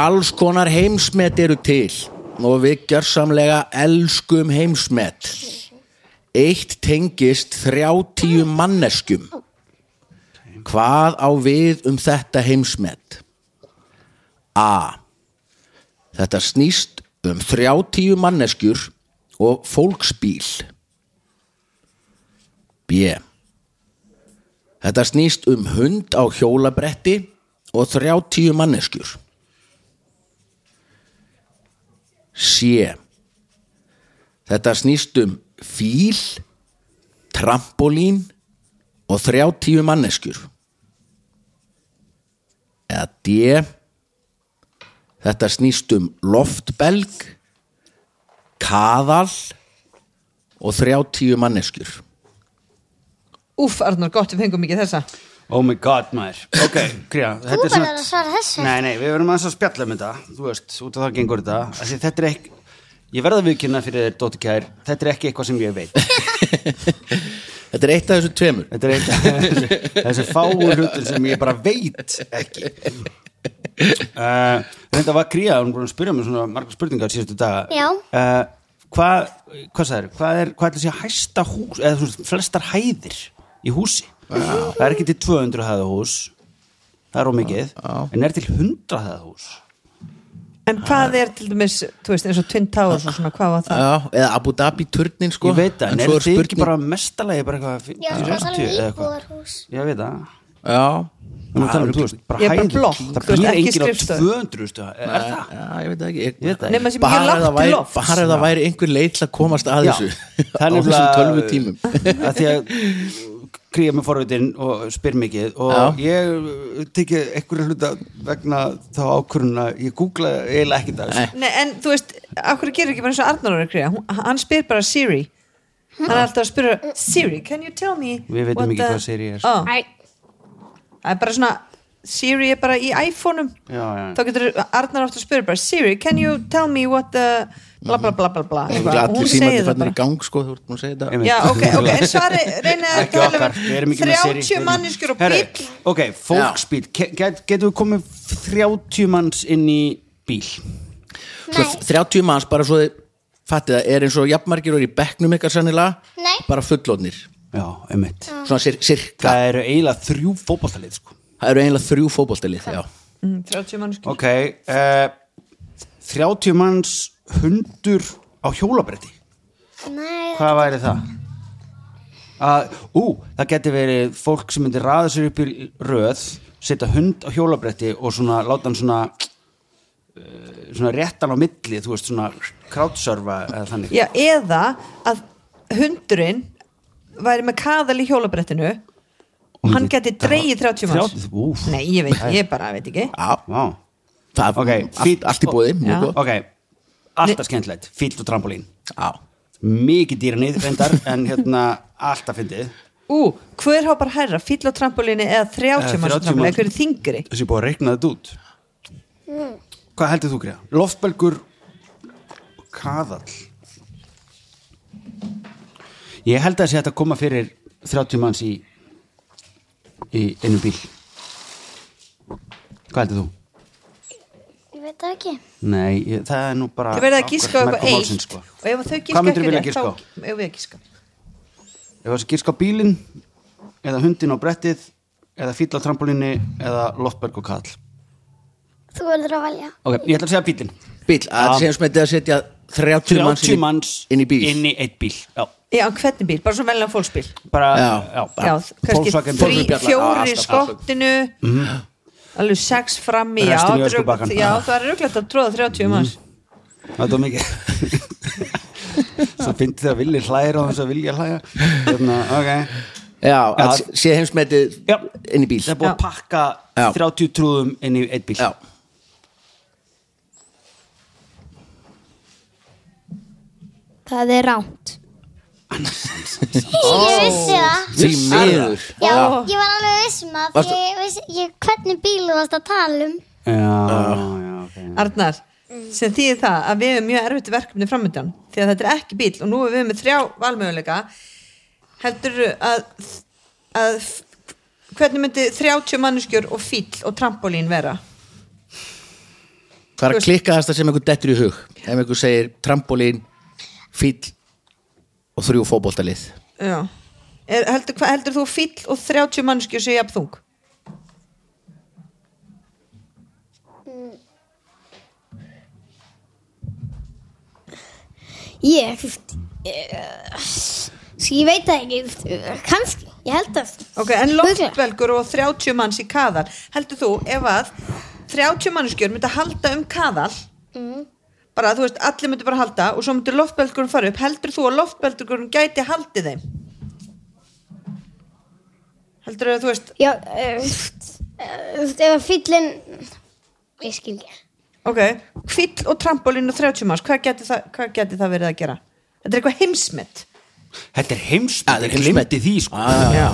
Speaker 2: alls konar heimsmet eru til og við gjörsamlega elskum heimsmet eitt tengist 30 manneskum Hvað á við um þetta heimsmet? A. Þetta snýst um 30 manneskjur og fólksbíl. B. Þetta snýst um hund á hjólabretti og 30 manneskjur. C. Þetta snýst um fíl, trampolín og 30 manneskjur eða D þetta snýst um loftbelg kaðal og 30 manneskjur
Speaker 3: Úf Arnar, gott við fengum ekki þessa
Speaker 5: oh my god maður Ok, Kríðan,
Speaker 4: Þú
Speaker 5: þetta er
Speaker 4: bara
Speaker 5: svona
Speaker 4: er að svara þessu
Speaker 5: Nei, nei, við verðum aðeins að spjalla um þetta Þú veist, út af það gengur þetta Af því Þetta er ekki Ég verða viðkynna fyrir þér, Dóttir Kær Þetta er ekki eitthvað sem ég veit
Speaker 2: þetta er eitt af þessu tveimur
Speaker 5: Þetta er eitt Þessi fáu hlutur sem ég bara veit ekki uh, Þetta var kríða Hún er búin að spyrja mig svona margar spurningar síðustu daga
Speaker 4: Já.
Speaker 5: uh, Hvað, hvað sagðir? Hvað er, hvað er þessi hæsta hús eða svona flestar hæðir í húsi Já. Það er ekki til 200 hæða hús Það er ómikið En er til 100 hæða hús
Speaker 3: En hvað
Speaker 5: Ah.
Speaker 3: er til dæmis, þú veist, eins og Twin Towers og svona, hvað var það?
Speaker 2: Já, eða Abu Dhabi turnin sko
Speaker 5: Ég veit það, en
Speaker 2: en
Speaker 5: er
Speaker 2: svo
Speaker 5: þetta
Speaker 2: er
Speaker 5: spurning... ekki
Speaker 2: spurning
Speaker 5: bara mestalagi bara eitthvað 50,
Speaker 4: Já, sko,
Speaker 5: 60
Speaker 4: það er
Speaker 5: eða eitthvað
Speaker 4: íbúðarhús
Speaker 5: Ég veit það
Speaker 2: já,
Speaker 5: Nú tala um, þú veist, bara
Speaker 3: Ég er bara
Speaker 5: hæðir.
Speaker 3: blokk,
Speaker 5: Það
Speaker 3: þú veist,
Speaker 5: býr
Speaker 3: ekki
Speaker 5: enginn á sko.
Speaker 3: skrifstofu.
Speaker 5: 200 stu, Er
Speaker 2: já,
Speaker 5: það?
Speaker 2: ég veit það ekki ég,
Speaker 5: Ég veit það
Speaker 3: Nema
Speaker 5: ekki
Speaker 3: sem
Speaker 2: bara ef það
Speaker 3: ekki lágt til
Speaker 2: væri,
Speaker 3: lofts
Speaker 2: bara ef það væri einhver leið til að komast að
Speaker 5: Já,
Speaker 2: þessu
Speaker 5: það er
Speaker 2: á þessum
Speaker 5: nefnilega-
Speaker 2: tölvu tímum
Speaker 5: að því að kríja með forvitin og spyr mikið og ég tekið einhverju hluta vegna þá ákvöruna ég googlaði eiginlega ekki það
Speaker 2: Nei.
Speaker 5: sko.
Speaker 3: Nei, en þú veist, akkur gerir ekki bara eins og Arnar er að greiða, Hún- hann spyr bara Siri hann er alltaf að spyrja Siri, can you tell me
Speaker 5: Við vitum
Speaker 3: what
Speaker 5: ekki
Speaker 3: the-
Speaker 5: hvað Siri er.
Speaker 3: Ó. Það er bara svona Siri er bara í iPhone-um
Speaker 5: Já, já.
Speaker 3: þá getur Arnar aftur að spyrja bara Siri, can you tell me what the bla bla bla bla bla
Speaker 2: Það er
Speaker 3: Eitthvað.
Speaker 2: allir
Speaker 3: hún
Speaker 2: símandi
Speaker 3: segir það
Speaker 2: fannir í
Speaker 3: bara
Speaker 2: gang sko, þú ert búin að segja þetta
Speaker 5: Einmitt.
Speaker 3: Já, ok, ok, en svari reynið að
Speaker 5: Ekki
Speaker 3: tala
Speaker 5: okkar, við erum
Speaker 3: um
Speaker 5: ekki með Siri
Speaker 3: 30 manniskur og
Speaker 5: Herri,
Speaker 3: bíl
Speaker 5: Ok, fólksbíl, Ke- get, getum við komið 30 manns inn í bíl
Speaker 2: Svo 30 manns bara svo þið fattið það er eins og jafnmargir og í bekknum ykkar sannilega
Speaker 4: Nei.
Speaker 2: bara fullotnir
Speaker 5: Já, einmitt
Speaker 2: svona sir, sirka
Speaker 5: Það eru eiginlega þrjú fótballtalið sko.
Speaker 2: það eru eiginlega þrjú fótboltalið já.
Speaker 3: Mm, 30 manniskur
Speaker 5: Ok, uh, 30 manns hundur á hjólabretti
Speaker 4: Nei,
Speaker 5: Hvað væri það? Að, ú, það geti verið fólk sem myndi raða sér upp í röð setja hund á hjólabretti og svona láta hann svona uh, svona réttan á milli þú veist svona crowdsurfa eða þannig
Speaker 3: Já, eða að hundurinn væri með kaðal í hjólabrettinu og hann geti dreigið 30 manns
Speaker 5: 30, úf.
Speaker 3: Nei, ég veit, ég bara veit ekki
Speaker 2: Já,
Speaker 5: Vá.
Speaker 2: það,
Speaker 5: Ok,
Speaker 2: allt,
Speaker 5: fínt. Sko,
Speaker 2: allt í bóði
Speaker 3: Já.
Speaker 2: mjög gott
Speaker 5: ok, alltaf skemmtilegt fílt og trampolín
Speaker 2: Já.
Speaker 5: mikið dýranið reyndar en hérna alltaf fyndið
Speaker 3: Ú, hver hápar hærra, fíll á trampolíni eða 30
Speaker 5: Eh,
Speaker 3: manns á
Speaker 5: 30
Speaker 3: trampolíni,
Speaker 5: manns.
Speaker 3: eitthvað er þingri
Speaker 5: þessi búið að reikna þetta út
Speaker 3: Hmm.
Speaker 5: hvað heldur þú greiða? loftbelgur kaðall ég held að þessi hægt að koma fyrir 30 manns í í einu bíl hvað heldur þú?
Speaker 4: ég veit veit það ekki.
Speaker 5: Nei, ég, það er nú bara
Speaker 3: Þið verða að gíska á
Speaker 5: mergur
Speaker 3: eitthvað eitt
Speaker 5: málsins, sko.
Speaker 3: og ef þau
Speaker 5: Hvað
Speaker 3: gíska
Speaker 5: myndirðu
Speaker 3: ekki
Speaker 5: vilja
Speaker 3: rétt
Speaker 5: giska á?
Speaker 3: þá ef við að gíska
Speaker 5: Ef það gíska á bílinn eða hundin á brettið eða fýll á trampolínu eða loftberg og kall
Speaker 4: Þú verður að velja.
Speaker 5: Ok, ég ætla að segja bílinn
Speaker 2: Bíl, að það séum sem þetta að setja 30 manns,
Speaker 5: 30 manns
Speaker 2: inn í bíl
Speaker 5: inn í eitt bíl Já,
Speaker 3: Já, en hvernig bíl, bara svona veljan fólksbíl
Speaker 5: bara,
Speaker 2: Já.
Speaker 5: já,
Speaker 3: Já, kannski
Speaker 5: Volkswagen
Speaker 3: þrí,
Speaker 2: Volkswagen bjallan, já,
Speaker 3: fjóri
Speaker 2: alltaf
Speaker 3: skottinu alveg sex frammi já,
Speaker 5: Mhm. Restin í Mhm.
Speaker 3: drögg-
Speaker 5: öskubakkann.
Speaker 3: já, það er rögglegt að tróða 30 manns
Speaker 5: Þetta var mikið Svo fyndi þegar villi hlæra og þess að vilja hlæja Þarna, ok
Speaker 2: Já, að
Speaker 5: Já.
Speaker 2: sé heimsmetið
Speaker 5: Já.
Speaker 2: inn í bíl
Speaker 5: Það er búið að
Speaker 3: Já.
Speaker 5: pakka
Speaker 2: Já.
Speaker 5: 30 trúðum inn í eitt bíl
Speaker 2: Já,
Speaker 6: Það er ránt
Speaker 4: Ég vissi það.
Speaker 2: því miður
Speaker 4: Já, ég var alveg viss um það.
Speaker 2: Varstu-
Speaker 4: Varstu... Ég vissi ég, hvernig bíl þú varst að tala um.
Speaker 5: já, já ok
Speaker 3: Arnar, sem þýðir það að við erum mjög erfitt verkefni framöndan því að þetta er ekki bíl og nú erum við með þrjá valmöguleika heldur að, að hvernig myndi 30 manneskjur og fíll og trampolín vera
Speaker 2: Það er að klikka það sem einhver dettur í hug Ef einhver segir trampolín, fíll og þrjú fótboltalið
Speaker 3: Já er, heldur, hva, heldur þú fíll og 30 manneskjur séu jafn þung?
Speaker 6: Ég, þú veist eh, Sko, ég veit það ekki þú veist, Kannski, ég held að
Speaker 3: Ok, en
Speaker 6: Örugglega.
Speaker 3: loftbelgur og 30 manns í kaðal heldur þú ef að 30 manneskjur myndi að halda um kaðal bara þú veist, allir myndi bara halda og svo myndi loftbelgurinn fara upp heldur þú að loftbelgurinn gæti haldið þeim heldur þú veist
Speaker 6: Já, eh, þú veist, eh, þú veist, ef að fyllin Ég skil ekki
Speaker 3: ok, kvill og trampolín og 30 manns hvað gæti það, hvað gæti það verið að gera þetta er eitthvað heimsmynd
Speaker 5: Þetta er heimsmet,
Speaker 2: Já, þetta er
Speaker 5: ég
Speaker 2: heimsmet.
Speaker 5: glemdi því sko.
Speaker 2: ah,
Speaker 3: já.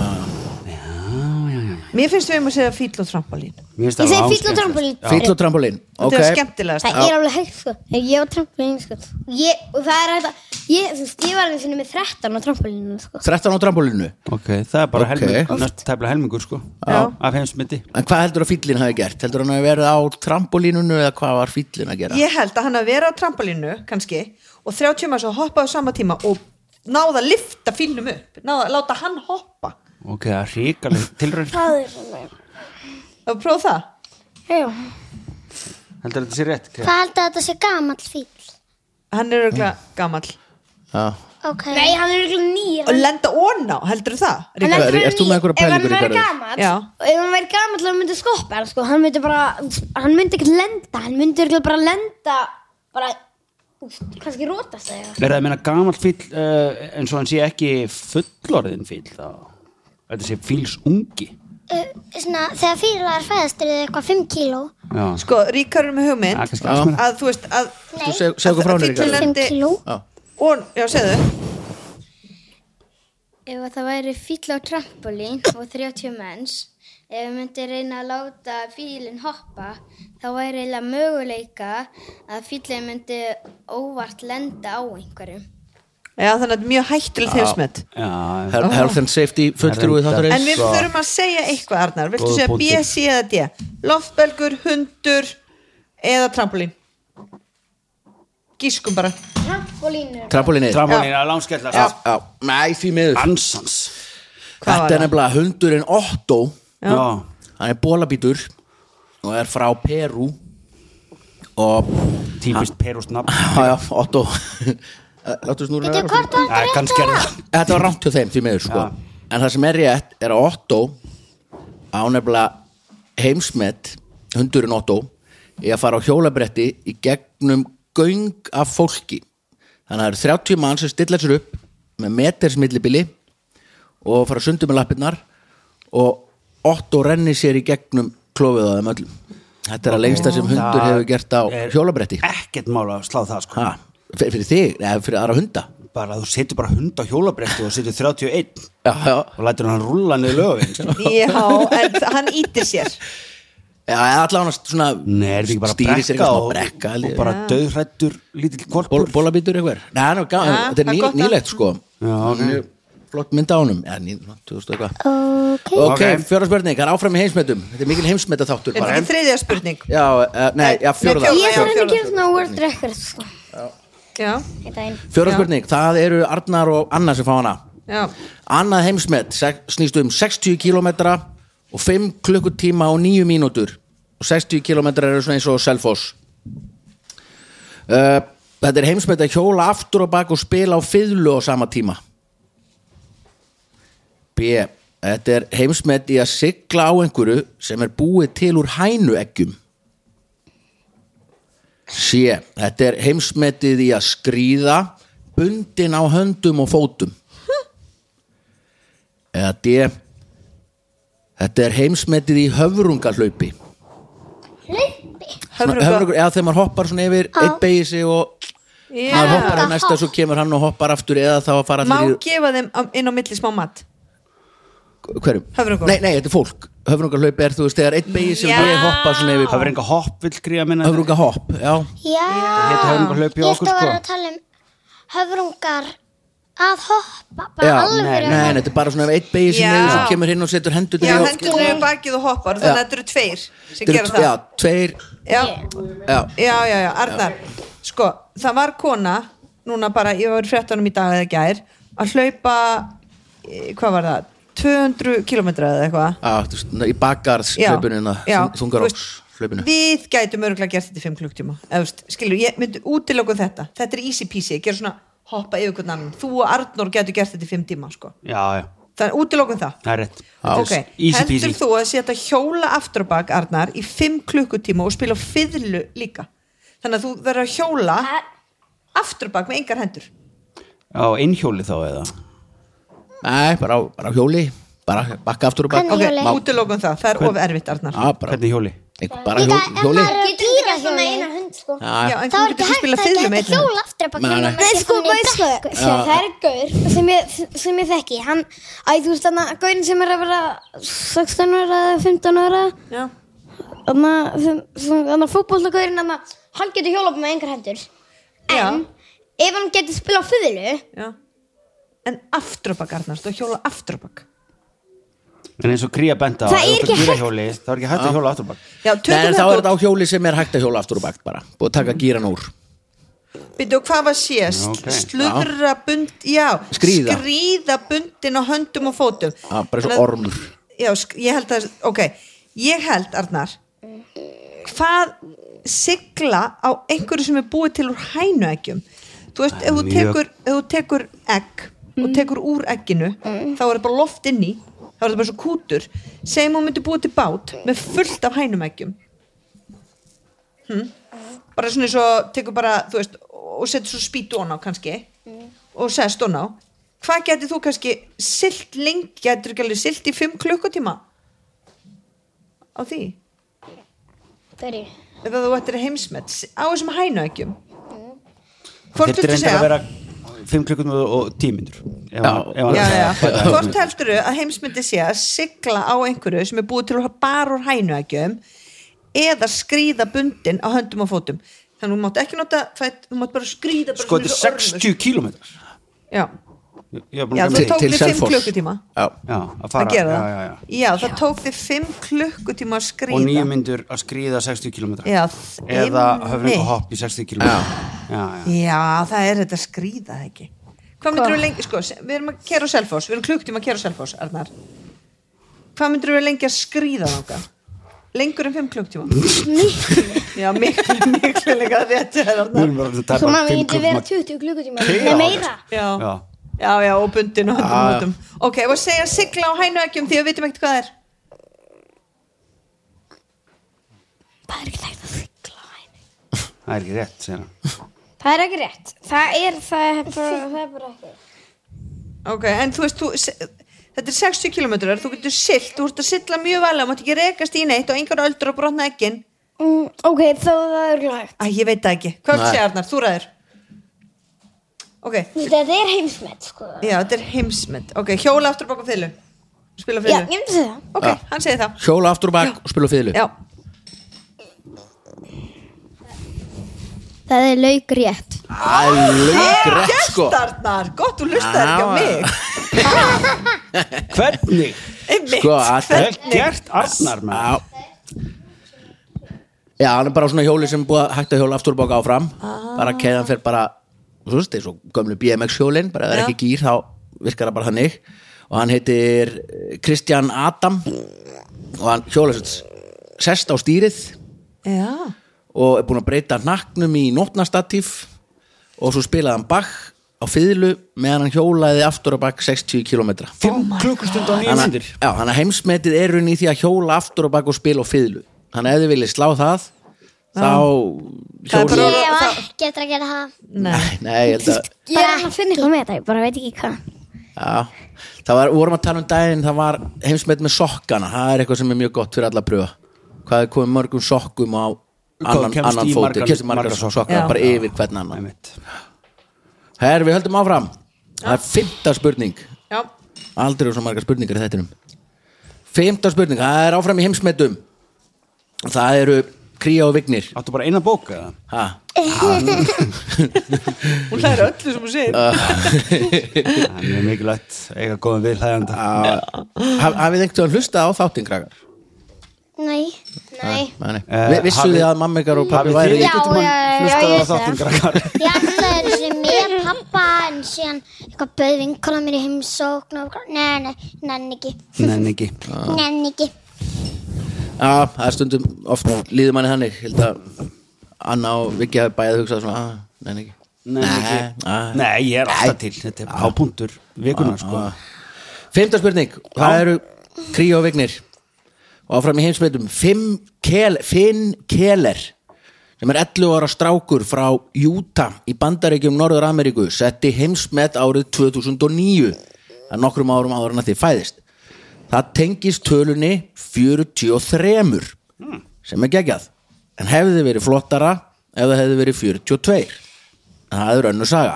Speaker 3: mér finnst við um að segja fíll og trampolín
Speaker 5: Mér finnst
Speaker 6: Ég
Speaker 5: það
Speaker 6: segi
Speaker 5: alveg
Speaker 6: fíll og
Speaker 5: áskemmtilegt.
Speaker 6: trampolín
Speaker 2: Fíll og trampolín
Speaker 3: þetta er
Speaker 2: okay.
Speaker 3: skemmtilegast
Speaker 6: Það er alveg hægt sko Ég var trampolín sko ég, Og það er hægt að ég, þú veist, ég var einu sinni með 13 á trampolínu sko
Speaker 2: 13 á trampolínu
Speaker 5: Ok, það er bara
Speaker 2: Ok.
Speaker 5: helmingur, næst tæfla helmingur sko
Speaker 3: Já.
Speaker 5: af heimsmeti
Speaker 2: En hvað heldur að fíllinn hafi gert? Heldur hann að verið á trampolínunu eða hvað var fíllinn að gera?
Speaker 3: Ég held að hann að vera á trampolínu kannski og 30 manns að hoppa á sama tíma og náða að lifta fílnum upp náða að láta hann hoppa
Speaker 5: Ok, það er ríkaleg tilraun
Speaker 4: Það er svona.
Speaker 3: og prófa það
Speaker 4: Já.
Speaker 5: Heldur þetta sé rétt? Kæ?
Speaker 4: Hvað heldur að þetta sé gamall fíl?
Speaker 3: hann er örgla
Speaker 2: Mm.
Speaker 3: gamall
Speaker 2: Já.
Speaker 4: Ok. uh,
Speaker 6: Nei, hann er ykkur nýr
Speaker 3: og lenda óna, heldur það?
Speaker 6: Hann
Speaker 3: Ríkharður?
Speaker 6: er
Speaker 2: Ert þú með einhverja pælingar í
Speaker 6: Ef hann væri
Speaker 2: garðið?
Speaker 6: gamall
Speaker 3: Já.
Speaker 6: og Ef hann væri gamall hann myndi skoppa hann sko Hann myndi bara Hann myndi ekkert lenda Hann myndi örugglega bara lenda Bara úst, Kannski rótast það
Speaker 5: Er það að meina gamalt fíll uh, eins og hann sé ekki fullorðin fíll þá? Þetta sé fíls ungi
Speaker 4: Uh, svona, þegar fílar fæðast eru þau eitthvað 5 kíló.
Speaker 5: Já,
Speaker 3: sko, ríkar er með
Speaker 5: það er
Speaker 3: hugmynd
Speaker 5: kannski alls meira
Speaker 3: að þú veist að
Speaker 2: Þú seg- segðu frá henni
Speaker 3: Fíllinn
Speaker 2: Ríkharður.
Speaker 4: Fimm
Speaker 3: lendi-
Speaker 4: kíló.
Speaker 2: Já.
Speaker 3: on, já, segðu
Speaker 7: Ef að það væri fíll á trampolín og 30 menns, ef við myndi reyna að láta fílinn hoppa, þá væri eiginlega möguleika að fíllinn myndi óvart lenda á einhverjum.
Speaker 3: já, þannig að þetta er mjög hættilegt heimsmet
Speaker 5: Já,
Speaker 2: Her- Health and safety fulltrúi
Speaker 5: Herrenda.
Speaker 2: þáttur
Speaker 3: en við
Speaker 5: Svo.
Speaker 3: þurfum að segja eitthvað Arnar viltu
Speaker 5: Góður
Speaker 3: segja B,
Speaker 5: punktur.
Speaker 3: C eða D loftbelgur, hundur eða trampolín gískum bara
Speaker 4: Trampolínu.
Speaker 2: Trampolínið
Speaker 5: Trampolín er að langskella
Speaker 2: Já, já. Nei, því miður
Speaker 5: Ansans
Speaker 3: Hvað var
Speaker 2: Þetta er
Speaker 3: það?
Speaker 2: nefnilega hundurinn Otto
Speaker 5: Já,
Speaker 2: Hann er bólabítur og er frá Perú og
Speaker 5: típist perust nafn
Speaker 2: já, já, Otto Láttu snúrun
Speaker 4: Þetta er hvort var
Speaker 5: Já, kannski er það
Speaker 2: Þetta var rámt hjá þeim því miður sko.
Speaker 5: Já.
Speaker 2: En það sem er rétt er að Otto á nefnilega heimsmet hundurinn Otto í að fara á hjólabretti í gegnum göng af fólki þannig að það eru 30 mann sem stilla sér upp með metersmillibili og fara sundum með lappirnar og Otto renni sér í gegnum klófið á þeim öllum Þetta er að lengsta sem hundur hefur gert á
Speaker 5: er
Speaker 2: hjólabretti
Speaker 5: Ekkert mála að slá það sko
Speaker 2: ha, fyr- Fyrir þig, eða fyrir aðra hunda
Speaker 5: Bara að þú setur bara hund á hjólabretti og setur 31
Speaker 2: Já, já,
Speaker 5: og lætur hann rulla niður lögin sko.
Speaker 3: Já, en hann ítir sér
Speaker 2: Já, eða allan svona
Speaker 5: Nei, er þetta ekki bara
Speaker 2: stýri sér
Speaker 5: brekka
Speaker 2: eitthvað
Speaker 5: og,
Speaker 2: svona brekka
Speaker 5: og bara döðrættur lítill korpur
Speaker 2: bólabítur eitthvað Nei, ná, gá,
Speaker 3: Já,
Speaker 2: þetta er
Speaker 3: það er
Speaker 2: ný,
Speaker 3: gott að-
Speaker 2: nýlegt sko
Speaker 5: Já, ok.
Speaker 2: flott mynd á honum ja, 2000 eitthvað
Speaker 4: Ok.
Speaker 2: ok,
Speaker 5: Ok.
Speaker 2: okay. fjóra spurning, það er áfram í heimsmetum þetta er mikil heimsmeta þáttur
Speaker 3: Er þetta
Speaker 2: bara
Speaker 3: ekki þriðja spurning?
Speaker 2: já, uh, nei, já,
Speaker 3: Nei,
Speaker 2: fjóra
Speaker 3: fjórða,
Speaker 6: Ég
Speaker 3: já.
Speaker 6: þarf henni að gera svona world record sko.
Speaker 3: Já,
Speaker 6: í daginn.
Speaker 2: fjóra
Speaker 3: Já.
Speaker 2: spurning, það eru Arnar og Anna sem fá hana
Speaker 3: já,
Speaker 2: annað heimsmet sex- snýst um 60 km og 5 klukkutíma og 9 mínútur og 60 km eru svona eins og Selfoss uh, þetta er heimsmet að hjóla aftur og bak og spila á fiðlu á sama tíma B þetta er heimsmet í að sigla á einhverju sem er búið til úr hænueggjum C þetta er heimsmetið í að skríða bundin á höndum og fótum eða D þetta er heimsmetið í höfrungahlaupi Svona
Speaker 3: höfrunga
Speaker 2: höfrungur- eða þegar maður hoppar svona yfir
Speaker 4: Já.
Speaker 2: einn beigir sig og maður hoppar að næsta svo kemur hann og hoppar aftur eða þá að fara
Speaker 3: Má
Speaker 2: allir í
Speaker 3: gefa þeim á- inn á milli smá mat
Speaker 2: hverjum?
Speaker 3: Höfrungum.
Speaker 2: Nei, nei, þetta er fólk höfrungahlaupi er þú veist þegar einn beigir sig
Speaker 3: Já.
Speaker 2: og ég hoppa svona
Speaker 5: Það
Speaker 2: yfir
Speaker 5: verður enga hopp vill gríða minna
Speaker 2: höfrungahopp, já
Speaker 4: Já.
Speaker 5: Þetta hefur enga hlaupi á
Speaker 4: Ég
Speaker 5: okkur
Speaker 4: ætla að
Speaker 5: sko
Speaker 4: vera að tala um höfrungar að hoppa, bara
Speaker 2: Já, nei,
Speaker 4: alveg
Speaker 2: nei, þetta er bara svona ef einn beigir sig
Speaker 3: Já.
Speaker 2: niður svo kemur hinn og setur hendur
Speaker 3: Já,
Speaker 2: niður og-
Speaker 3: hann kemur við bakið og hoppar Þannig að þetta eru tveir sem
Speaker 2: Þetta
Speaker 3: gera
Speaker 2: eru-
Speaker 3: það
Speaker 2: Já, tveir
Speaker 3: já,
Speaker 2: Já,
Speaker 3: já, já, já, Arnar Sko, það var kona Núna bara, ég var í fréttanum í dag eða gær Að hlaupa, eh, hvað var það 200 kilometra eða eitthvað
Speaker 2: á, þú veist, í bakgarðs
Speaker 3: Já,
Speaker 2: hlaupinu hérna,
Speaker 3: já,
Speaker 2: þungaróks
Speaker 3: þú veist,
Speaker 2: hlaupinu
Speaker 3: Við gætum örgulega gert þetta í 5 klukktíma Efst, Skilur, ég myndi útilöku þetta Þetta er easy peasy, ég ger svona hoppa yfir hvernig annan Þú og Arnór gætu gert þetta í 5 tíma sko.
Speaker 5: Já, já,
Speaker 3: Það er útilökum það
Speaker 5: það er rétt
Speaker 3: Ok,
Speaker 5: Þetta er Easy peasy
Speaker 3: heldur þú að setja hjóla aftur á bak, Arnar, í 5 klukkutíma og spila á fiðlu líka þannig að þú verður að hjóla aftur á bak með engar hendur
Speaker 5: Á einhjóli þá eða
Speaker 2: Nei, bara á- bara á hjóli bara bakka aftur og bakka
Speaker 3: ok,
Speaker 4: Hjóli.
Speaker 3: útilökum það, það er of erfitt, Arnar
Speaker 2: Já, bara,
Speaker 5: Hvernig hjóli?
Speaker 2: einhver- bara
Speaker 4: Líka
Speaker 2: hjó-
Speaker 4: ef
Speaker 2: hjóli
Speaker 4: maður er á dýrahjóli
Speaker 6: hund sko.
Speaker 2: Já,
Speaker 3: Já,
Speaker 2: já.
Speaker 3: en
Speaker 4: þá
Speaker 3: þú getur
Speaker 4: er ekki
Speaker 3: ekki
Speaker 4: hægt
Speaker 3: spila
Speaker 4: að
Speaker 3: fiðlu með
Speaker 4: geta
Speaker 3: einni
Speaker 4: hjóla
Speaker 3: hönd
Speaker 4: aftur upp að
Speaker 2: Nei,
Speaker 4: hjóla
Speaker 2: nei.
Speaker 4: með
Speaker 6: Nei,
Speaker 4: sér
Speaker 6: sko,
Speaker 4: þannig í
Speaker 6: veistu
Speaker 4: brekku.
Speaker 6: hvað, það er gaur sem ég, sem ég þekki, hann, æ, þú veist, þannig að gaurin sem er að vera 16 ára eða 15 ára,
Speaker 3: Já,
Speaker 6: þannig að fótbollagaurin, þannig að hann getur hjólað með engar hendur.
Speaker 3: já,
Speaker 6: En ef hann getur spila á fyrðlu,
Speaker 3: já En aftur á bak, Arnar, þú hjóla aftur á bak
Speaker 5: En eins og kría benda á
Speaker 6: Það
Speaker 5: ef þú
Speaker 6: er
Speaker 5: ert
Speaker 6: ekki
Speaker 5: á dýrahjóli, Það er ekki hægt að hjóla aftur bak
Speaker 2: Nei,
Speaker 3: Já,
Speaker 2: en
Speaker 3: tökum
Speaker 2: þá er
Speaker 3: þetta
Speaker 2: þetta
Speaker 3: út Mm.
Speaker 2: á hjóli sem er hægt að hjóla aftur og bakt bara Búið að taka gíran úr
Speaker 3: Býttu, hvað var sést?
Speaker 5: Já, ok.
Speaker 3: Slurra bund, já
Speaker 2: Skríða.
Speaker 3: Skríða bundin á höndum og fótum
Speaker 2: Já, bara eins og
Speaker 3: Þannig að-
Speaker 2: ormur.
Speaker 3: Já, sk- ég held að, ok Ég held, Arnar Hvað sigla á einhverju sem er búið til úr hænueggjum Þú veist, ef þú
Speaker 5: Mjög-
Speaker 3: tekur, ef þú tekur egg og tekur úr egginu þá er það bara loft inni þá er það bara svo kútur segjum hún myndi búið til bát með fullt af hænumeggjum bara svona eins og tekur bara, þú veist, og setur svo spýtu on á kannski og sest on á hvað getur þú kannski silt lengi, getur ekki alveg silt í 5 klukkutíma á því
Speaker 6: það er
Speaker 3: ef þú ættir heimsmet á þessum hænu ekki
Speaker 5: Þetta
Speaker 3: hvort
Speaker 5: er
Speaker 3: viltu
Speaker 5: reyndar
Speaker 3: segja
Speaker 5: að vera Fimm klukkum og tímindur
Speaker 3: já, já, já. hvort heldur að heimsmyndi sé að sigla á einhverju sem er búið til að bara úr hænu eða skríða bundin á höndum og fótum þannig að þú mátt ekki nota fætt, þú mátt bara skríða bara
Speaker 5: Sko,
Speaker 3: svona
Speaker 5: þetta er
Speaker 3: eins og ormur.
Speaker 5: 60 kílómetrar
Speaker 3: já
Speaker 5: Já,
Speaker 3: Já, þú
Speaker 5: að
Speaker 3: tók þig fimm
Speaker 2: Selfoss.
Speaker 3: klukkutíma
Speaker 2: Já,
Speaker 5: fara
Speaker 3: að gera
Speaker 5: já,
Speaker 3: það
Speaker 5: já, já.
Speaker 3: það tók þig fimm klukkutíma að
Speaker 5: og nýju
Speaker 3: skrýða
Speaker 5: myndur að skríða 60 km
Speaker 3: Já,
Speaker 5: eða
Speaker 3: einmitt.
Speaker 5: höfringa hopp í 60 km já. Já, já.
Speaker 3: Já, það er þetta að skrýða það ekki Hvað myndir við lengi, sko, se- við erum að kera á Selfoss Við erum klukkutíma að kera á Selfoss, Arnar Hvað myndir við lengi að skrýða þáka? Lengur en fimm klukkutíma Já, miklu, miklu líka rétt hjá
Speaker 5: Við
Speaker 3: þér, Arnar
Speaker 5: erum bara að tapa
Speaker 6: Svo maður
Speaker 5: fimm
Speaker 6: getur vera
Speaker 5: klukkutíma.
Speaker 6: 20 klukkutíma
Speaker 5: Keyra á
Speaker 6: Nei, meira
Speaker 5: Já.
Speaker 3: Já, já, já, og bundin og höndum og höndum Ok, og segja sigla á hænu ekki um því að við vitum ekkert hvað það er
Speaker 6: Það er ekki hægt að sigla á henni
Speaker 5: það er ekki rétt segir hann.
Speaker 6: Það er ekki rétt Það er, það er bara, það er bara ekki
Speaker 3: Ok, en þú veist, þú, se- þetta er 60 km, þú getur silt, þú ert að silla mjög vel, þú mátt ekki rekast í neitt og engar öldur og brotna ekkin.
Speaker 6: mm, Ok, þá er það er hægt
Speaker 3: Æ, ég veit það ekki. Hvað
Speaker 2: Nei.
Speaker 3: sé Arnar, þú ræður? Ok,
Speaker 6: Þetta er heimsmet, sko
Speaker 3: já, þetta er heimsmynd. Ok, hjóla aftur baka fylgu. Spila
Speaker 6: Já,
Speaker 3: fylgu.
Speaker 6: ég myndi segja það
Speaker 3: Ok, hann segir það.
Speaker 2: hjóla aftur og bakt og spila á fiðlu
Speaker 3: Já,
Speaker 7: Það er lauk rétt.
Speaker 2: Alveg rétt sko
Speaker 3: Gestarnar, gott, þú lustar ekki á
Speaker 2: Já.
Speaker 3: mig
Speaker 5: Hvernig?
Speaker 3: Einmitt.
Speaker 2: Sko, að-
Speaker 5: Vel
Speaker 3: Hvernig?
Speaker 5: gert Arnar með
Speaker 2: Já Já, hann er bara svona hjóli sem er búið að hægt að hjóla afturbáka áfram ah. bara keðan fyrir bara svo veist, eins og gömlu BMX hjólin bara ef það er
Speaker 3: Já.
Speaker 2: ekki gýr þá virkar það bara þannig og hann heitir eh, Kristján Adam og hann hjóla sérst sest á stýrið
Speaker 3: Já,
Speaker 2: og er búin að breyta hnaknum í nótnastatíf og svo spilaði hann bakk á fýðlu meðan hann hjólaði aftur á bakk 60 km
Speaker 5: 5 klukkustund og 9
Speaker 2: Þannig-
Speaker 5: myndir
Speaker 2: Já, þannig að heimsmetið er runni í því að hjóla aftur og bak og spila og fiðlu Þannig að ef þið viljið slá það þá
Speaker 3: Það er
Speaker 2: hjóla
Speaker 3: bara-
Speaker 4: Ég á
Speaker 3: þá-
Speaker 4: ekki eftir að gera það.
Speaker 3: nei
Speaker 2: Nei, ég held að
Speaker 6: Ég er hann að finna eitthvað með þetta, ég bara veit ekki hvað
Speaker 2: Já, það var, vorum að tala um daginn það var heimsmet með sokkana það er eitthvað sem er mjög gott fyrir alla að pröfa hvað er komið mörgum sokkum á annan,
Speaker 5: kemst
Speaker 2: annan
Speaker 5: í
Speaker 2: fóti,
Speaker 5: margar-
Speaker 2: kemst í margar
Speaker 5: margar
Speaker 2: sokkar,
Speaker 5: sokka.
Speaker 3: Já.
Speaker 2: bara yfir hvern annan
Speaker 5: Einmitt.
Speaker 2: Herri, við höldum áfram Það er fimmta spurning
Speaker 3: Já,
Speaker 2: Aldrei eru svo margar spurningar í þettinum Fimmta spurning, það er áfram í heimsmetum Það eru kría og vignir
Speaker 5: Áttu bara eina bók eða?
Speaker 2: Ha?
Speaker 3: hún hlæðir öllu sem hún segir
Speaker 5: Það er mjög mikilvægt að eiga góðan viðhæðanda
Speaker 2: Haf, hafið einhvern veginn hlustað á þáttin krakkar?
Speaker 4: Nei.
Speaker 6: Nei,
Speaker 2: Nei,
Speaker 5: Eh,
Speaker 2: Vi, vissu
Speaker 5: hafið-
Speaker 2: þið að mamma ykkar og pappi
Speaker 5: Hafið
Speaker 2: væri
Speaker 5: þið
Speaker 6: Já,
Speaker 5: ekkert um
Speaker 6: já, já,
Speaker 5: hlustað á
Speaker 6: já, ég
Speaker 5: þáttin
Speaker 6: sé
Speaker 5: krakkar?
Speaker 4: Ég ætlaði þessu sem ég og pappa en síðan eitthvað bauð vinkala mér í heimsókn og nei, nei, nenn ekki,
Speaker 5: Nei, ekki
Speaker 4: nenn ekki.
Speaker 2: Já, það er stundum oft líður manni þannig Ég held að Anna og Viki hafi bæðið hugsað svona ah, Nei, ekki
Speaker 5: Nei, ekki. Nei, ég er alltaf til Þetta er hápunktur vikunar
Speaker 2: Ah,
Speaker 5: sko
Speaker 2: Fymta spurning, það eru kríu og vignir og áfram í heimsmyndum Finn Kel, Finn Keller sem er 11 ára strákur frá Utah í bandaríkjum Norður Ameríku setti heimsmet árið 2009 að nokkrum árum áður en að þið fæðist það tengist tölunni 43 sem er geggjað en hefði verið flottara ef það hefði verið 42 en það er önnur saga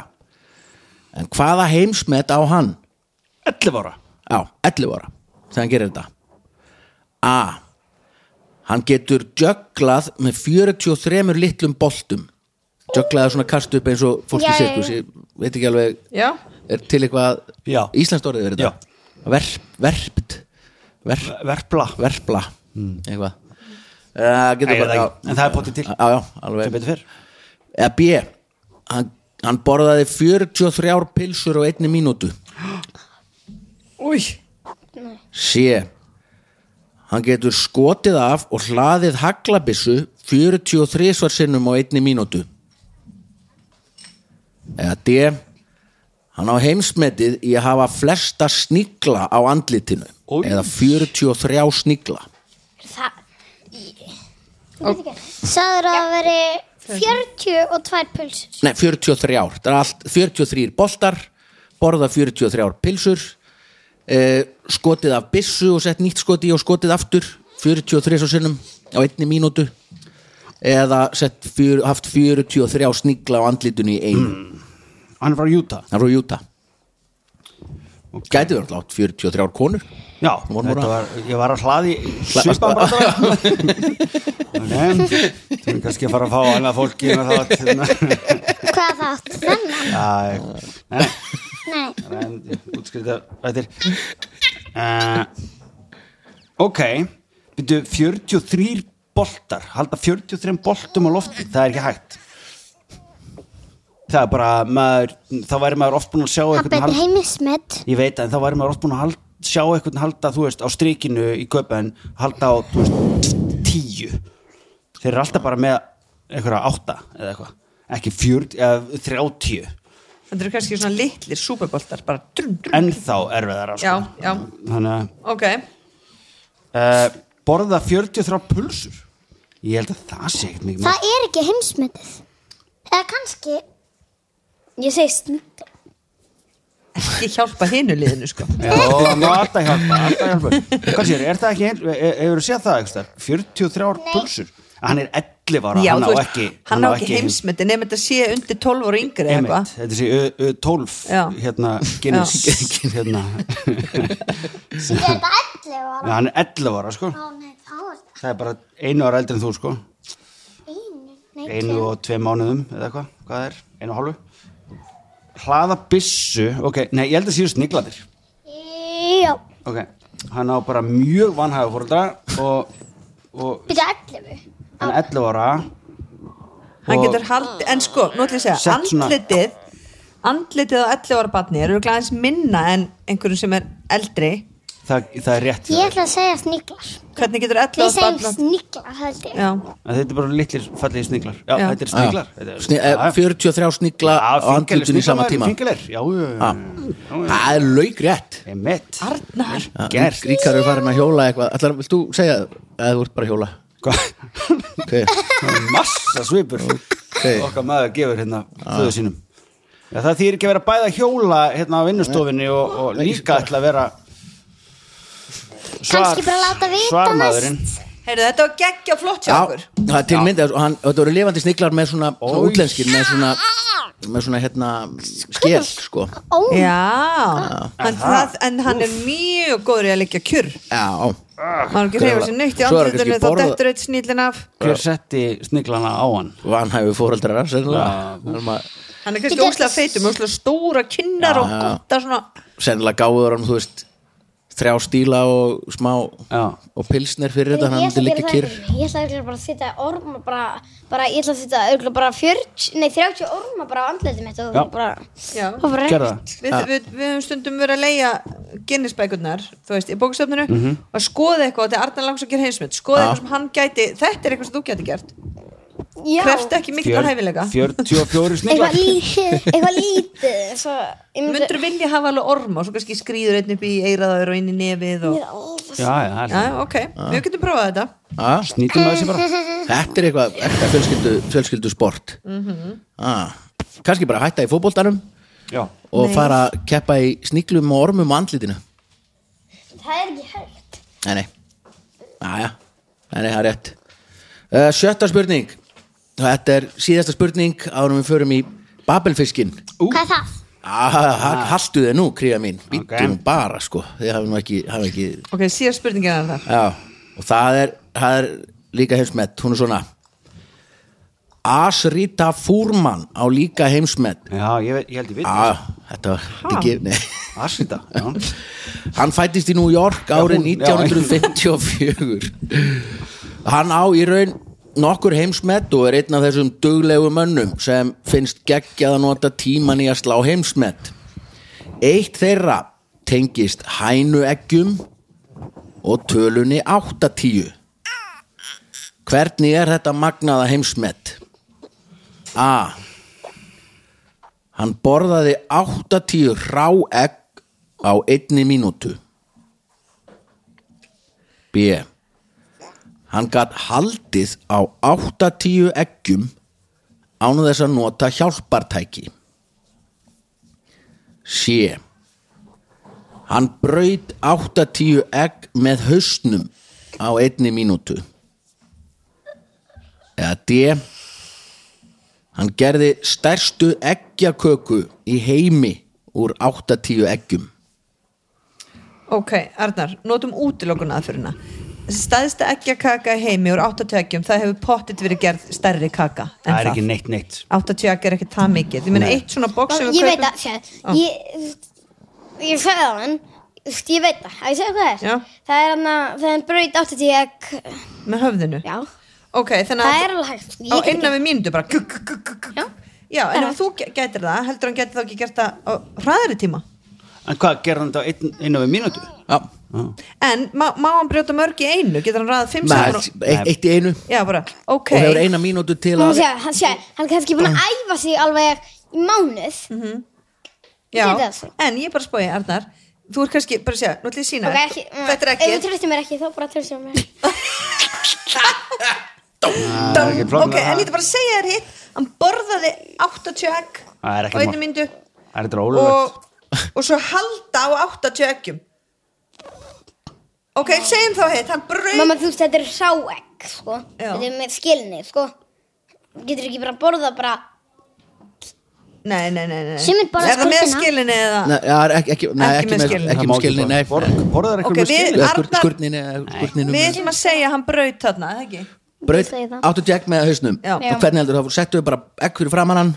Speaker 2: en hvaða heimsmet á hann
Speaker 5: 11 ára
Speaker 2: Já, 11 ára þegar hann gerir þetta A Hann getur jöglað með 43 litlum boltum jöglað er svona kast upp eins og fólk í
Speaker 4: Já, já,
Speaker 2: sirkus ég veit ekki alveg
Speaker 3: Já,
Speaker 2: er til eitthvað
Speaker 5: Já.
Speaker 2: íslenskt orðið verið þetta Verp, verpt verp,
Speaker 5: Verpla
Speaker 2: verpla eitthvað uh,
Speaker 5: Nei,
Speaker 2: getur
Speaker 5: ég veit það
Speaker 2: bara,
Speaker 5: ekki. En það Hmm. er potið til.
Speaker 2: Já, já,
Speaker 5: Sem
Speaker 2: alveg
Speaker 5: betur fyrr
Speaker 2: eða B hann, hann borðaði 43 pilsur á einni mínútu
Speaker 3: új
Speaker 2: C. Hann getur skotið af og hlaðið haglabissu 43 svar sinnum á einni mínútu. Eða D. Hann á heimsmetið í að hafa flesta snigla á andlitinu.
Speaker 5: Oj.
Speaker 2: Eða 43 snigla.
Speaker 4: Það, Saður að það veri 42 pulsur.
Speaker 2: Nei, 43 ár. Það er allt 43 boltar, borða 43 ár pilsur, eh, skotið af bissu og sett nýtt skoti og skotið aftur 43 svo sinnum á einni mínútu eða sett fjör, haft 43 snigla á andlitunni í einu.
Speaker 5: Mm. Hann er frá Utah
Speaker 2: Það er frá Júta. Gæti verið látt 43 ár konur.
Speaker 5: Já,
Speaker 2: Von Mora.
Speaker 5: þetta var, ég var að hlaði svipan bara Nei, þú er kannski að fara að fá annað fólki en að það
Speaker 4: Hvað það átt? Þennan?
Speaker 5: Nei,
Speaker 4: Nei.
Speaker 5: nei, útskrita rættir uh, Ok, byrju 43 boltar, halda 43 boltum á lofti, það er ekki hægt Það er bara, maður, þá væri maður oft búin að sjá einhvern
Speaker 4: Pappi, þetta er heimismet.
Speaker 5: Ég veit að þá væri maður oft búin að hald, sjá eitthvað halda, þú veist, á strikinu í köpen halda á, þú veist, tíu Þeir eru alltaf bara með einhverja átta eða eitthvað ekki fjör, eða þrjátíu
Speaker 3: Þetta eru kannski svona litlir súperboltar bara drum, drum.
Speaker 5: en þá erfiðar
Speaker 3: Já, já,
Speaker 5: sko. Þannig
Speaker 3: ok
Speaker 5: að uh, borða 43 pulsur Ég held að það sé ekkert mikið
Speaker 4: Það er ekki heimsmetið. Eða kannski,
Speaker 6: Ég segi snigla
Speaker 3: Ég hjálpa hinu liðinu sko
Speaker 5: Já, það má alltaf hjálpa, alltaf hjálpa. Hvað sér, er það ekki, hefur er, er, þú séð það eitthvað, 43 pulsur Hann er 11 ára,
Speaker 3: Já,
Speaker 5: hann á
Speaker 3: þú veist,
Speaker 5: ekki
Speaker 3: hann á ekki heimsmyndi nefnir þetta sé undir 12 ára yngri eða
Speaker 5: Einmitt,
Speaker 3: eitthvað
Speaker 5: þetta sé Ö- Ö- 12
Speaker 3: Já.
Speaker 5: hérna Guinness hérna,
Speaker 4: ég er þetta 11
Speaker 5: Já,
Speaker 4: ára.
Speaker 5: hann er 11 ára sko
Speaker 4: Ó nei, þá er
Speaker 5: það er bara einu ára eldri en þú sko
Speaker 4: þetta einu. Nei,
Speaker 5: einu og tvei mánuðum eða eitthvað, hvað það er, einu og hálfu hlaða byssu ok, nei, ég held að síðust niglaðir
Speaker 4: Já,
Speaker 5: ok, hann á bara mjög vanhæfa fóruldra og, og
Speaker 4: byrja 11
Speaker 5: hann er 11 ára
Speaker 3: hann
Speaker 5: Og-
Speaker 3: getur haldið, en sko, nú ætlum ég að segja
Speaker 5: Sett svona-
Speaker 3: andlitið andlitið á 11 ára batni eru glæðins minna en einhverjum sem er eldri
Speaker 5: það, það er rétt hjá
Speaker 4: Ég
Speaker 5: þér.
Speaker 4: ætla að segja sníklar
Speaker 3: hvernig getur 11
Speaker 4: Við
Speaker 3: ára
Speaker 4: segjum
Speaker 3: batni
Speaker 4: sníklar, held ég
Speaker 3: já,
Speaker 5: En þetta er bara litlir fallegi sniglar já,
Speaker 3: Já.
Speaker 5: þetta er sniglar
Speaker 2: Já.
Speaker 5: Þetta er-
Speaker 2: Sni- eh,
Speaker 5: Já, já.
Speaker 2: 43 snigla
Speaker 5: Já,
Speaker 2: á
Speaker 5: fingerler,
Speaker 2: andlutinu í sama
Speaker 5: sniglar,
Speaker 2: tíma
Speaker 5: fingerler, já, já, já,
Speaker 2: Ah. það er lauk rétt
Speaker 5: já. Emmett.
Speaker 3: Arnar
Speaker 2: Ah.
Speaker 5: Gert.
Speaker 2: Ríkar er farin að hjóla eitthvað Ætlar, vilt þú segja að þú ert bara að hjóla
Speaker 5: Hvað?
Speaker 2: okay.
Speaker 5: massa svipur okkar maður gefur hérna föðu sínum Já, það þýr ekki að vera bæða hjóla hérna á vinnustofinni og, og líka ætla að vera svar,
Speaker 4: Kannski bara láta vita
Speaker 5: svarmaðurinn
Speaker 3: heyrðu, þetta var geggja flott hjá
Speaker 2: Já,
Speaker 3: okkur
Speaker 2: það er til myndið og hann, þetta voru lifandi sniglar með svona, svona
Speaker 5: Oj.
Speaker 2: útlenskir með svona, með svona hérna, skél sko.
Speaker 4: Ó,
Speaker 2: Ah.
Speaker 3: já, en, það, en hann er mjög góður í að liggja kjur
Speaker 2: Já,
Speaker 3: maður ekki hreyfa sér neitt í
Speaker 2: Ah. Svo er hann
Speaker 3: andlitinu
Speaker 2: kannski
Speaker 3: þá
Speaker 2: borða-
Speaker 3: dettur eitt snýlin af
Speaker 5: hver setti sniglana á hann
Speaker 2: vanhæfi fóreldrar
Speaker 5: Já.
Speaker 2: sennilega,
Speaker 3: hann er kannski óslega feitur með óslega stóra kinnar og
Speaker 2: Ah.
Speaker 3: gúta svona
Speaker 2: sennilega gáður hann þú veist, þrjá stíla og smá
Speaker 5: Já.
Speaker 2: og pilsner fyrir þetta, hann
Speaker 6: Ég
Speaker 2: myndi
Speaker 6: ætla að
Speaker 2: líka
Speaker 6: gera það
Speaker 2: kyrr
Speaker 6: einhvern veginn. Ég ætla örugglega bara að setja orma bara, bara ég ætla að setja örugglega bara 40, nei 30 orma bara á andleiti mitt og
Speaker 5: Já.
Speaker 6: bara,
Speaker 3: já
Speaker 6: og bara
Speaker 5: gerða það
Speaker 3: Við, við, við höfum stundum verið að leia Guinness-bækurnar, þú veist, í bókastöfninu
Speaker 5: Mhm.
Speaker 3: og skoða eitthvað, þetta er Arnar langs að gera heimsmynd skoða eitthvað sem hann gæti, þetta er eitthvað sem þú gæti gert
Speaker 6: já,
Speaker 3: kreft ekki miklu
Speaker 5: Fjör-
Speaker 3: hæfilega
Speaker 5: 44
Speaker 6: eitthvað
Speaker 5: sniglar
Speaker 6: lítið, eitthvað lítið, svo ég myndi,
Speaker 3: myndur vilja hafa alveg orma og svo kannski skrýður einn upp í eiraðaður og inn í nefið og...
Speaker 6: Já,
Speaker 5: já, já, það er
Speaker 3: já, ok, við getum prófað þetta
Speaker 2: A,
Speaker 5: snýtum að þessi
Speaker 4: Eh.
Speaker 5: bara
Speaker 2: Þetta er eitthvað ekta fjölskyldu, fjölskyldu sport mm
Speaker 6: Mhm.
Speaker 2: Kannski bara hætta í fótboltanum
Speaker 5: já,
Speaker 2: og fara að keppa í sniglum og ormum á andlitinu
Speaker 6: það er ekki hægt.
Speaker 2: Nei, nei, Jæja. nei, nei það er rétt uh, Sjötta spurning Þetta er síðasta spurning árum við förum í Babelfiskin
Speaker 4: hvað er það?
Speaker 2: ah, Haltu þið nú, kríða mín Býttu
Speaker 5: Ok.
Speaker 2: nú bara, sko Þið hafi nú ekki, hafi ekki
Speaker 3: ok, síðar spurningin er það
Speaker 2: Já, og það er, það er líka heimsmet Hún er svona Asrita Fúrman á líka heimsmet
Speaker 5: já ég, veit- ég held ég veit
Speaker 2: ah, Þetta var ekki nei.
Speaker 5: Asita, já
Speaker 2: Hann fættist í New York árið
Speaker 5: hún- já.
Speaker 2: 1954 Hann á í raun nokkur heimsmet og er einn af þessum duglegu mönnum sem finnst geggjað að nota tíman í að slá heimsmet Eitt þeirra tengist hænueggjum og tölunni 8-10 Hvernig er þetta magnaða heimsmet? A Hann borðaði 8-10 rá egg á einni mínútu. B. Hann gatt haldið á 8-10 eggjum án þess að nota hjálpartæki. C. Hann braut 8-10 egg með hausnum á einni mínútu. Eða D. Hann gerði stærstu eggjaköku í heimi úr 8-10 eggjum.
Speaker 3: ok, Arnar, notum útilokun aðfyrirna staðista ekkjakaka í heimi úr 80 ekkjum, það hefur pottit verið gerð stærri kaka en
Speaker 5: það er ekki neitt neitt
Speaker 3: 80 ekk er ekki það mikið ég meina
Speaker 5: Nei.
Speaker 3: eitt svona bóks sem við
Speaker 6: Ég veit
Speaker 3: kaupum-
Speaker 6: að, sér, ég, ég sagði það hann, ég veit það, að ég segja hvað það
Speaker 3: Já.
Speaker 6: er. Það er hann að, það er braut 80 egg,
Speaker 3: með höfðinu
Speaker 6: já,
Speaker 3: ok, þannig
Speaker 6: það
Speaker 3: að
Speaker 6: er alveg hægt. Ég
Speaker 3: á
Speaker 6: get
Speaker 3: innan við mínútu bara kuk, kuk, kuk, kuk, kuk.
Speaker 6: Já.
Speaker 3: já, en
Speaker 6: Það
Speaker 3: ef þú ge- gætir það heldur hann gæti þá ekki gert það á hraðari tíma
Speaker 5: en hvað, gerði hann þetta á einu við mínútu?
Speaker 2: Já,
Speaker 3: en má, má hann brjóta mörg í einu getur hann ræðað fimm
Speaker 2: maður,
Speaker 3: saman og-
Speaker 2: eitt, eitt í einu
Speaker 3: já, bara, ok,
Speaker 2: og hefur eina mínútu til
Speaker 6: Hún
Speaker 2: að
Speaker 6: sé, hann sé, hann er kannski búin að æfa sig alveg í mánuð
Speaker 3: já,
Speaker 6: ég geti það svo.
Speaker 3: en ég bara spói Arnar, þú er kannski, bara að segja, nú ætlum ég að sína
Speaker 6: Ok, ekki,
Speaker 3: þetta er
Speaker 6: Ef þú
Speaker 3: ekki,
Speaker 6: tröstir mér ekki, þá bara tröstir mér ekki.
Speaker 5: það er ekki
Speaker 3: ok,
Speaker 5: flóknara.
Speaker 3: en ég ætla bara að segja þér hitt hann borðaði 80 egg
Speaker 5: Það er
Speaker 3: á
Speaker 5: ekki
Speaker 3: einu
Speaker 5: mál.
Speaker 3: myndu
Speaker 5: Það er þetta ólöflegt
Speaker 3: og, og svo halda á 80 eggjum ok, segjum þá hitt hann brauð
Speaker 6: Mamma, þú veist, þetta er hráegg, sko.
Speaker 3: Já.
Speaker 6: Þetta er með skilni, sko. Getur ekki bara borða bara...
Speaker 3: Nei, nei, nei, nei.
Speaker 4: Sumir borða
Speaker 3: Er það með
Speaker 4: skurnina.
Speaker 3: skilinni eða
Speaker 2: Nei, já, ekki, ekki, nei,
Speaker 3: Ekki
Speaker 2: ekki,
Speaker 3: með
Speaker 2: með,
Speaker 3: skilin.
Speaker 2: ekki með skilni Nei,
Speaker 5: Borðar
Speaker 3: Ok,
Speaker 5: eitthvað með
Speaker 3: við-
Speaker 5: skilni?
Speaker 2: Eða
Speaker 3: Arnar-
Speaker 2: skur- skurninu eða skurninu
Speaker 3: Við
Speaker 2: með-
Speaker 3: ætlum að segja að hann braut þarna, eða ekki?
Speaker 2: braut,
Speaker 6: segi það.
Speaker 2: áttu Jack með hausnum
Speaker 3: Já.
Speaker 2: og hvernig heldur það, settu bara ekkur framan hann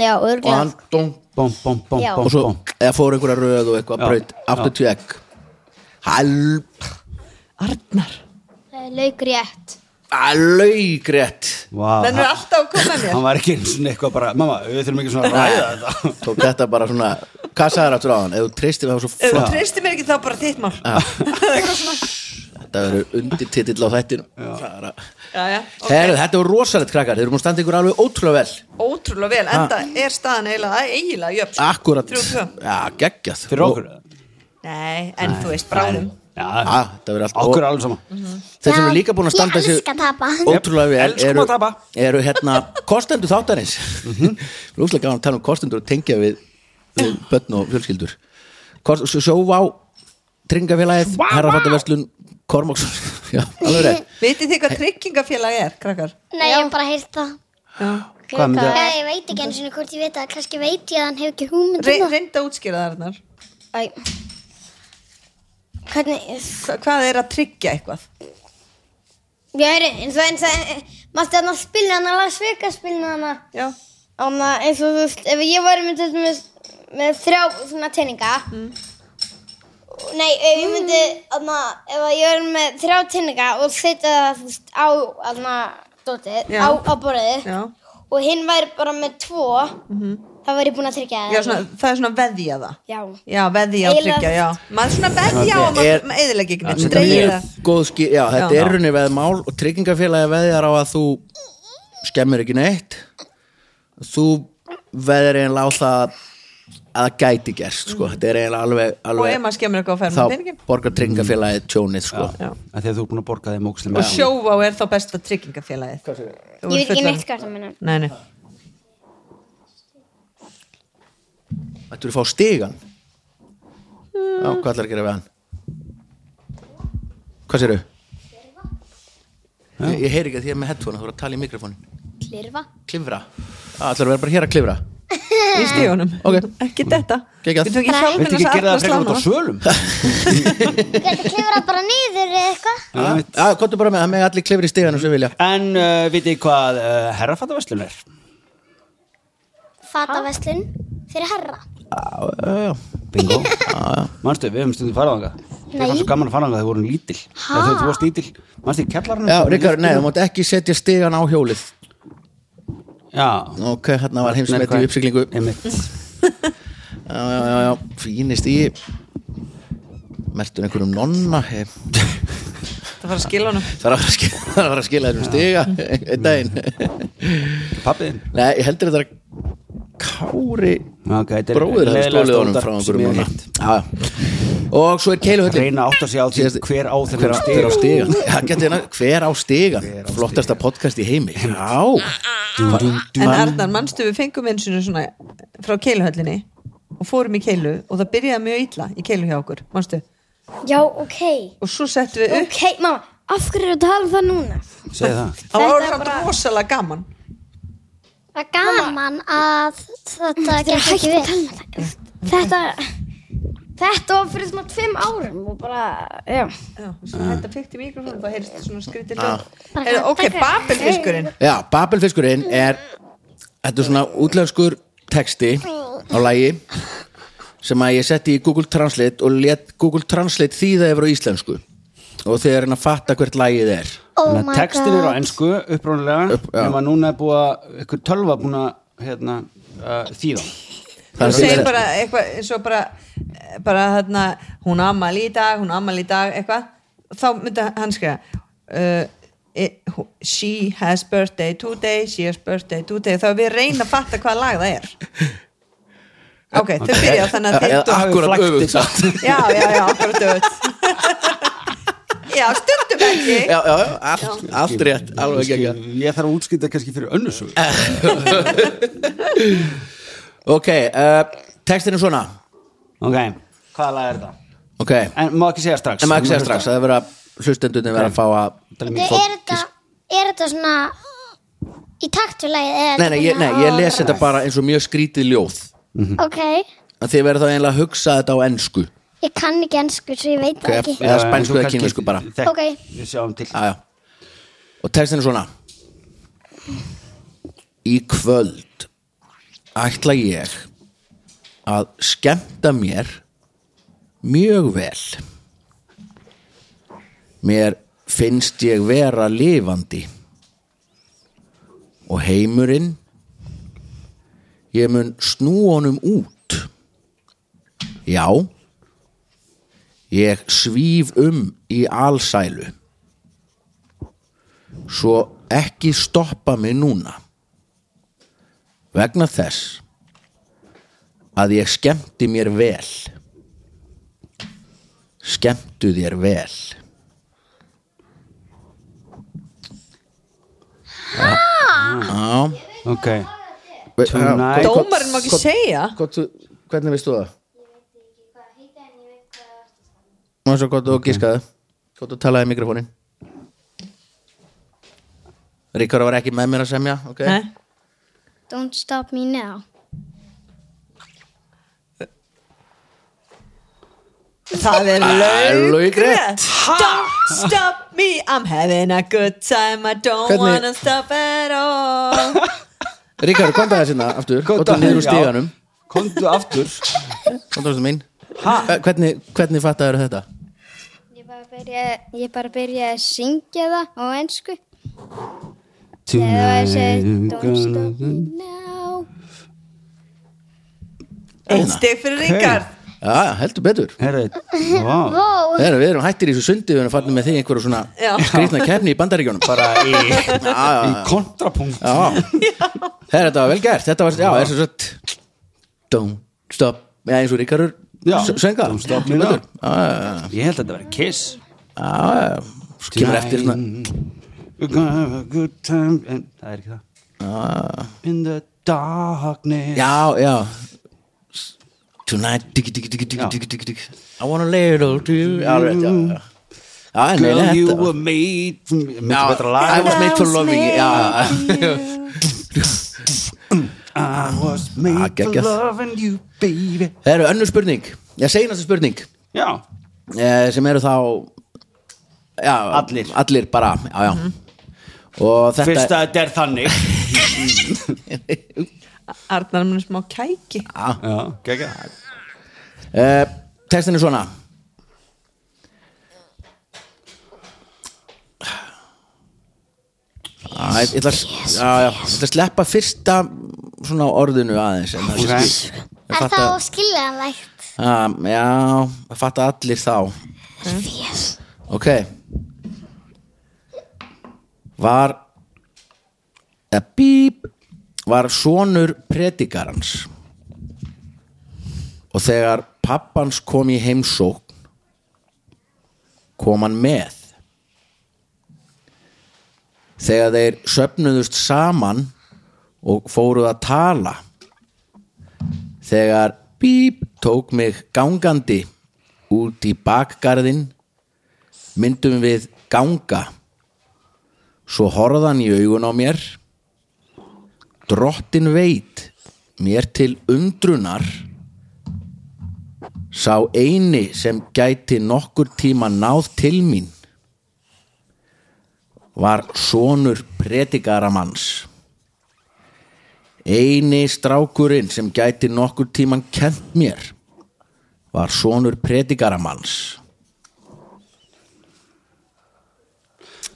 Speaker 6: Já,
Speaker 2: og hann
Speaker 6: örgulega
Speaker 2: dong,
Speaker 5: bom, bom, bom,
Speaker 6: Já.
Speaker 5: bom,
Speaker 2: og svo
Speaker 5: bom.
Speaker 2: eða fór einhverja röð og eitthvað
Speaker 5: Já.
Speaker 2: braut, áttu Jack Hal-
Speaker 3: Arnar
Speaker 7: Það er lauk rétt.
Speaker 2: alveg rétt
Speaker 5: Vá,
Speaker 3: Þannig er
Speaker 5: Ah, hann-
Speaker 3: alltaf að koma með mér
Speaker 5: hann var ekki einu sinni eitthvað bara mamma, við þurfum ekki svona að ræða þetta
Speaker 2: tók þetta bara svona hvað sagði þetta á hann, ef þú treystir það var svo
Speaker 3: Ef þú
Speaker 2: flott
Speaker 3: treystir mér ekki þá bara þitt mál
Speaker 5: Ah.
Speaker 2: þetta verður undir titill á þættinu Það er að-
Speaker 3: Jæja, ok.
Speaker 2: Herru, þetta var rosalegt krakkar, þeir eru múin að standa ykkur alveg ótrúlega vel
Speaker 3: Ótrúlega vel, enda
Speaker 5: Ah.
Speaker 3: er staðan eiginlega eiginlega jöfn sko.
Speaker 2: Akkurat,
Speaker 3: 3-2.
Speaker 2: já, geggjað
Speaker 5: fyrir okkur eða?
Speaker 3: Nei, en þú veist, bráðum
Speaker 5: já,
Speaker 2: Já, þetta verður allt
Speaker 5: okkur er alveg sama
Speaker 3: Mm-hmm.
Speaker 2: Þeir sem
Speaker 4: Já,
Speaker 2: eru líka búin að standa
Speaker 4: Ég elska að tapa
Speaker 2: ótrúlega vel
Speaker 5: Elskum
Speaker 2: eru,
Speaker 5: að tapa. Mhm.
Speaker 2: eru hérna kostendur þáttanins Lúslega gaman að tala um kostendur og tengja við, við börn og fjölskyldur Kost, Sjóvá Tryggingafélagið, herrafattaverslun Kormáksson, já, alveg rétt
Speaker 3: Vitið þið hvað tryggingafélag er, krakkar?
Speaker 4: Nei, ég hef bara heyrt það
Speaker 5: hvað myndi
Speaker 4: Já, ég veit ekki eins og hvort ég veit það Kannski veit ég að hann hefur ekki um húmynd
Speaker 3: Re, reynda að útskýra það, Arnar
Speaker 6: Æ Hvernig
Speaker 3: Hva, Hvað er að tryggja eitthvað?
Speaker 6: Já, er, eins og eins og Mástu hann að spila hann að laga sveika spila hann að
Speaker 3: Já,
Speaker 6: Þannig að eins og þú veist, ef ég væri með, með, með þrjá svona teininga
Speaker 3: Mm.
Speaker 6: Nei, ef ég myndi, þannig ef að ég væri með þrjá teininga og setja það, þú veist, á, þannig dótið,
Speaker 3: Já.
Speaker 6: á, á borðið
Speaker 3: já,
Speaker 6: Og hinn væri bara með tvo, þá væri ég búin að tryggja það
Speaker 3: Mhm. já svona, það er svona veðja það
Speaker 6: Já,
Speaker 3: Já, veðja og
Speaker 6: Eiginlega-
Speaker 3: tryggja, já Maður svona veðja og
Speaker 2: Er-
Speaker 3: maður eðilegir ekki neitt
Speaker 2: Þetta er
Speaker 3: Dreigir
Speaker 2: mjög
Speaker 3: það
Speaker 2: góð skýr, já, þetta
Speaker 3: Já.
Speaker 2: er runni veð mál og tryggingafélagi veðjar á að þú skemmir ekki neitt þú veðjar eiginlega á það að það gæti gerst sko. þetta er eiginlega alveg,
Speaker 3: Mm. Og ef
Speaker 2: alveg
Speaker 3: maður skemmur eitthvað á ferð með peningin
Speaker 2: þá borgar tryggingafélagi tjónið sko.
Speaker 5: að því að þú er búin að borga þeim óksli
Speaker 3: Og sjóvá er þá besta tryggingafélagið
Speaker 7: Ég
Speaker 3: Þú ert
Speaker 7: veit ekki
Speaker 3: fullorðin.
Speaker 7: neitt hvað það minna.
Speaker 3: Nei, nei
Speaker 2: Þetta eru að fá stigan Já, hvað ætlar að gera við hann? Hvað sérðu? Ég, ég heyri ekki að því að með headphone þú voru að tala í mikrofónin
Speaker 7: Klirfa.
Speaker 2: Klifra, ah, ætlar að vera bara hér að klifra
Speaker 3: í stíunum
Speaker 2: Ok.
Speaker 3: ekki þetta
Speaker 2: Geggjað.
Speaker 3: við
Speaker 5: veit
Speaker 3: hérna tók í hjálminn
Speaker 5: ekki
Speaker 3: og
Speaker 5: að gera
Speaker 3: satna
Speaker 5: það
Speaker 2: hérna
Speaker 5: fyrir út á
Speaker 3: slána
Speaker 5: sölum
Speaker 4: Þú getur klifrað bara niður eða eitthvað
Speaker 2: Já, já, komdu bara með, það með allir klifri í stíðan sem vilja
Speaker 5: en uh, vitið þið hvað uh, herrafattaverslun er
Speaker 4: Fataveslun fyrir herra
Speaker 5: bingo manstu, við höfum stundum farað ánga það var svo gaman að fara ánga þegar við vorum lítil þegar þú varst lítil, manstu, kjallarinn
Speaker 2: Já, Ríkar, nei, þú mátt ekki setja stígan á hjólið
Speaker 5: já
Speaker 2: Ok, hérna var heimsmeti
Speaker 5: Nei,
Speaker 2: í uppsiglingu Já,
Speaker 5: Einmitt.
Speaker 2: já, já, já, fínist í Mertur einhverjum nonna hef.
Speaker 3: það var að skila honum
Speaker 2: Það var að skila, það var að skila þessum stiga Einn daginn
Speaker 5: pappiðin
Speaker 2: Nei, ég heldur þetta að Kári
Speaker 5: okay, þetta er
Speaker 2: bróðir hefði
Speaker 5: leiðilegasta
Speaker 2: stólið honum
Speaker 5: útvarp
Speaker 2: frá
Speaker 5: sem ég
Speaker 2: einhverjum
Speaker 5: hef
Speaker 2: nonna
Speaker 5: hitt.
Speaker 2: Já, já Og svo er keiluhöllin
Speaker 5: reyna að átta sig á því
Speaker 2: Síðast-
Speaker 5: hver á
Speaker 2: Hver
Speaker 5: þennan
Speaker 2: á
Speaker 5: stig
Speaker 2: hver á stigan Já, getið hérna, hver á stigan Flottasta podcast í heimi Já,
Speaker 3: en Arnar, mannstu við fengum eins og svona frá keiluhöllinni og fórum í keilu og það byrjaði mjög illa í keilu hjá okkur mannstu
Speaker 6: já ok
Speaker 3: og svo settum við upp
Speaker 6: Ok, mamma, af hverju er að tala um það núna?
Speaker 5: segi það
Speaker 3: það
Speaker 6: Þetta
Speaker 3: var
Speaker 6: er
Speaker 3: samt
Speaker 6: bara-
Speaker 3: rosalega gaman
Speaker 4: Það er gaman að þetta gekk ekki vel
Speaker 6: Þetta, þetta var fyrir svona tveim árum og bara, já
Speaker 3: já,
Speaker 2: Ah.
Speaker 3: svo hætti að fykti mikrofónum þá heyrst svona skrítið ljóð ok, babelfiskurinn
Speaker 2: já Babelfiskurinn er Þetta er svona útlenskur texti á lægi sem að ég setti í Google Translate og let Google Translate þýða yfir á íslensku og þeir eru að fatta hvert lægið er
Speaker 4: Oh
Speaker 5: Þannig
Speaker 4: my
Speaker 5: að textin
Speaker 4: god
Speaker 5: eru á ennsku upprónulega
Speaker 2: Upp- já.
Speaker 5: nema núna er búið að ykkur tölva búin að hérna, uh, þýða
Speaker 2: Það
Speaker 3: þú
Speaker 2: er-
Speaker 3: segir bara eitthvað eins og bara, bara hérna, hún ammali í dag hún ammali í dag, eitthvað þá myndi hann skrifa uh, it- who- she has birthday today she has birthday today þá við reyna að fatta hvaða lag það er ok, þau byrja þannig að
Speaker 2: Eða
Speaker 3: þeir-
Speaker 2: akkurat
Speaker 5: flækt
Speaker 3: sko.
Speaker 2: öfugt
Speaker 5: þetta.
Speaker 2: samt.
Speaker 3: já, já, já, akkurat öll já, stundum ekki
Speaker 2: já, já, já, allt, allt rétt alveg ekki
Speaker 5: Ég- ég þarf að útskýta kannski fyrir önnusög
Speaker 2: ok, uh, textin er svona
Speaker 5: ok, hvaða lag er það?
Speaker 2: ok, en
Speaker 5: en má ekki segja strax
Speaker 2: maður ekki segja strax það er verið að hlustendunni verið að fá að
Speaker 5: um
Speaker 4: Nei, Er þetta, er þetta svona í taktulegið?
Speaker 2: nei, nei, ég, nei, ég les þetta bara eins og mjög skrítið ljóð
Speaker 4: Ok,
Speaker 2: en þið verið þá eiginlega að hugsa þetta á ennsku
Speaker 4: ég kann ekki ennsku svo ég veit það
Speaker 2: Ok,
Speaker 4: ekki
Speaker 2: eða spænsku eða kínversku bara
Speaker 4: Ok.
Speaker 5: við sjáum til
Speaker 2: já, já. og textin er svona í kvöld ætla ég að skemmta mér mjög vel mér finnst ég vera lifandi og heimurinn ég mun snú honum út já ég svíf um í alsælu svo ekki stoppa mig núna vegna þess að ég skemmti mér vel skemmtu þér vel Já
Speaker 5: ok
Speaker 2: Ve-
Speaker 5: Tonight.
Speaker 2: já, hvort-
Speaker 3: Dómarinn má ekki
Speaker 2: hvort-
Speaker 3: segja.
Speaker 2: hvort þú- Hvernig veistu það? Má svo gott og gískaði Hvort þú talaði í mikrofónin Ríkara var ekki með mér að semja ok?
Speaker 3: Nei.
Speaker 7: Don't stop me now.
Speaker 3: Það er
Speaker 2: laugrétt.
Speaker 3: laugrætt Don't stop me, I'm having a good time I don't
Speaker 2: Hvernig-
Speaker 3: wanna stop at all
Speaker 2: Ríkara, kom það þessi hérna aftur Hvort þú
Speaker 5: Komdu-
Speaker 2: niður úr
Speaker 5: Já.
Speaker 2: stíganum
Speaker 5: komdu aftur
Speaker 2: Hvort þú mín Eh, Hvernig, hvernig fattaður þetta?
Speaker 7: Ég bara byrjaði, ég bara byrjaði að syngja það á ensku. Eða að segja Don't stop me now.
Speaker 3: Eitt steg fyrir Ríkard
Speaker 2: Já, heldur betur
Speaker 5: herri, vá
Speaker 4: Ó,
Speaker 2: Þeir, Við erum hættir í þessu sundi Við erum fannir með þig einhverju svona
Speaker 3: Já.
Speaker 2: skrýtna kefni í bandaríkjónum
Speaker 5: bara í,
Speaker 2: já,
Speaker 5: í kontrapunkt
Speaker 2: Já, Herra, þetta var vel gert Þetta var, já, er svo sett Don't stop Já, eins og Ríkarur
Speaker 5: Já.
Speaker 2: sönga
Speaker 5: Don't stop me now. ég held að þetta verði kiss
Speaker 2: Svo kemur eftir svona
Speaker 5: We're gonna have a good time en, það er ekki það in the darkness
Speaker 2: Já, já Tonight diggi, diggi, diggi, diggi,
Speaker 5: Já.
Speaker 2: diggi, diggi, diggi I wanna lay it all to you Já, alveg, já, já Já, en
Speaker 5: girl
Speaker 2: meina
Speaker 5: you
Speaker 2: þetta
Speaker 5: were made
Speaker 2: Já,
Speaker 5: mikið betra
Speaker 2: I
Speaker 5: lag
Speaker 2: was made for loving you Já,
Speaker 5: I was made
Speaker 2: Ah, geggjað.
Speaker 5: for loving you baby
Speaker 2: það eru önnur spurning Já, segjum þessu spurning
Speaker 5: já
Speaker 2: eh, sem eru þá já,
Speaker 5: Allir.
Speaker 2: allir bara já, já.
Speaker 4: Mhm.
Speaker 2: og þetta
Speaker 5: fyrst að þetta er þannig
Speaker 3: Arnar er mér smá kæki
Speaker 5: já gegja
Speaker 2: eh, textin er svona Já, Ah, ég, ég ætla, að- já, já, ég ætla að sleppa fyrsta svona orðinu aðeins en það
Speaker 5: Ok.
Speaker 2: skil- ég
Speaker 4: er
Speaker 2: fatta,
Speaker 4: það skiljanlegt?
Speaker 2: um, já, það fatta allir þá
Speaker 4: Yes.
Speaker 2: Ok Var eða bíp var sonur predikarans og þegar pappans kom í heimsókn kom hann með þegar þeir söfnuðust saman og fóruð að tala þegar bíp tók mig gangandi út í bakgarðinn myndum við ganga svo horðan í augun á mér drottin veit mér til undrunar sá eini sem gæti nokkur tíma náð til mín var sonur predikaramanns eini strákurinn sem gæti nokkur tíman kent mér var sonur predikaramanns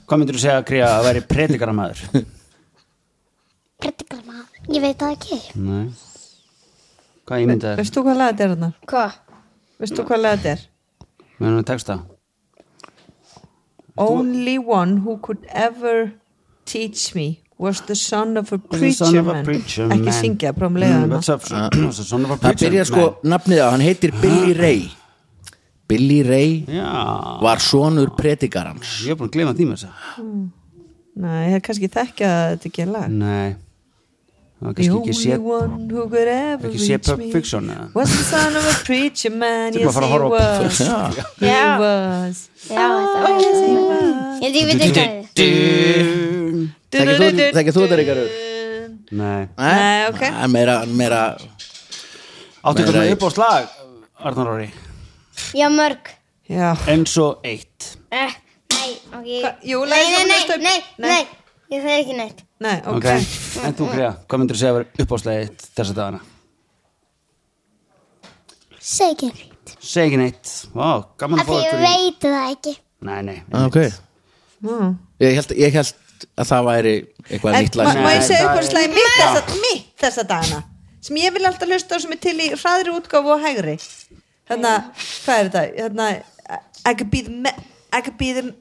Speaker 5: hvað myndir þú segja að kriða að væri predikaramæður
Speaker 4: Predikar maður. Ég veit það ekki.
Speaker 5: nei hvað ég myndi það
Speaker 3: Veist þú hvað lag þetta er Arnar?
Speaker 7: Hva?
Speaker 3: Veist þú hvað lag þetta er?
Speaker 5: við erum að texta
Speaker 3: Only one who could ever teach me was the son of a
Speaker 5: The
Speaker 3: preacher,
Speaker 5: son of a
Speaker 3: man.
Speaker 5: preacher
Speaker 3: Ekki
Speaker 5: man.
Speaker 3: syngja, bara um leiða
Speaker 5: Mm,
Speaker 3: hana
Speaker 5: what's up, son- the son of a
Speaker 2: Ah. Það
Speaker 5: preacher
Speaker 2: byrjar sko
Speaker 5: man.
Speaker 2: nafnið á, hann heitir Billy
Speaker 3: Ah.
Speaker 2: Ray Billy Ray
Speaker 5: já
Speaker 2: var sonur predikarans
Speaker 5: ég er búin að glema því með þess að
Speaker 3: Nei, það er kannski þekkja að þetta ekki er lag
Speaker 5: nei það var Mm,
Speaker 3: The
Speaker 5: kannski ekki
Speaker 3: only
Speaker 5: séð
Speaker 3: one who could ever
Speaker 5: ekki séð
Speaker 3: reach me
Speaker 5: Pulp Fiction, eða?
Speaker 3: Was the son of a preacher man
Speaker 5: Þú ert bara að
Speaker 3: Yes
Speaker 5: fara
Speaker 3: he
Speaker 5: að horfa á Pulp
Speaker 3: was
Speaker 2: Já,
Speaker 3: He
Speaker 6: Já.
Speaker 3: was
Speaker 6: Já, þetta var Ég held ég veit ekki hvað þið.
Speaker 2: Þekkir þú- þekkir þú þetta, Ríkarður?
Speaker 5: nei
Speaker 3: Nei, ok.
Speaker 2: Æ, Ah, Meira, meira
Speaker 5: áttu
Speaker 2: Meira
Speaker 5: eitthvað
Speaker 2: í-
Speaker 5: upp á slag Arnar Óri
Speaker 6: Já, mörg.
Speaker 3: Já,
Speaker 5: eins og eitt
Speaker 6: Eh, Nei, á ekki
Speaker 3: Hva- jú,
Speaker 6: nei,
Speaker 3: lagði
Speaker 6: nei,
Speaker 3: saman
Speaker 6: nei,
Speaker 3: með staup-
Speaker 6: nei,
Speaker 3: Nei.
Speaker 6: nei, ég fer ekki neitt
Speaker 3: Nei, ok,
Speaker 5: Ok, en þú Kriða, hvað myndir þú segja að vera uppáslegið þessa dagana?
Speaker 4: Segð ekki neitt.
Speaker 5: Segja ekki neitt, vá, gaman
Speaker 4: Af
Speaker 5: að fá
Speaker 4: því ég
Speaker 5: ykkur í
Speaker 4: veit það ekki.
Speaker 5: Nei, nei,
Speaker 2: Ah,
Speaker 3: Ah,
Speaker 2: ok
Speaker 3: Mm.
Speaker 2: ég held, ég held að það væri eitthvað
Speaker 3: En
Speaker 2: nýtt
Speaker 3: ma-
Speaker 2: lag
Speaker 3: má ég
Speaker 5: Nei,
Speaker 3: segja
Speaker 5: það
Speaker 3: ykkur
Speaker 5: er-
Speaker 3: slæði mitt þessa, mitt þessa dagana sem ég vil alltaf hlusta á sem er til í hraðri útgáfu og hægri hérna, hvað er þetta hérna, I could be the ma- I could be the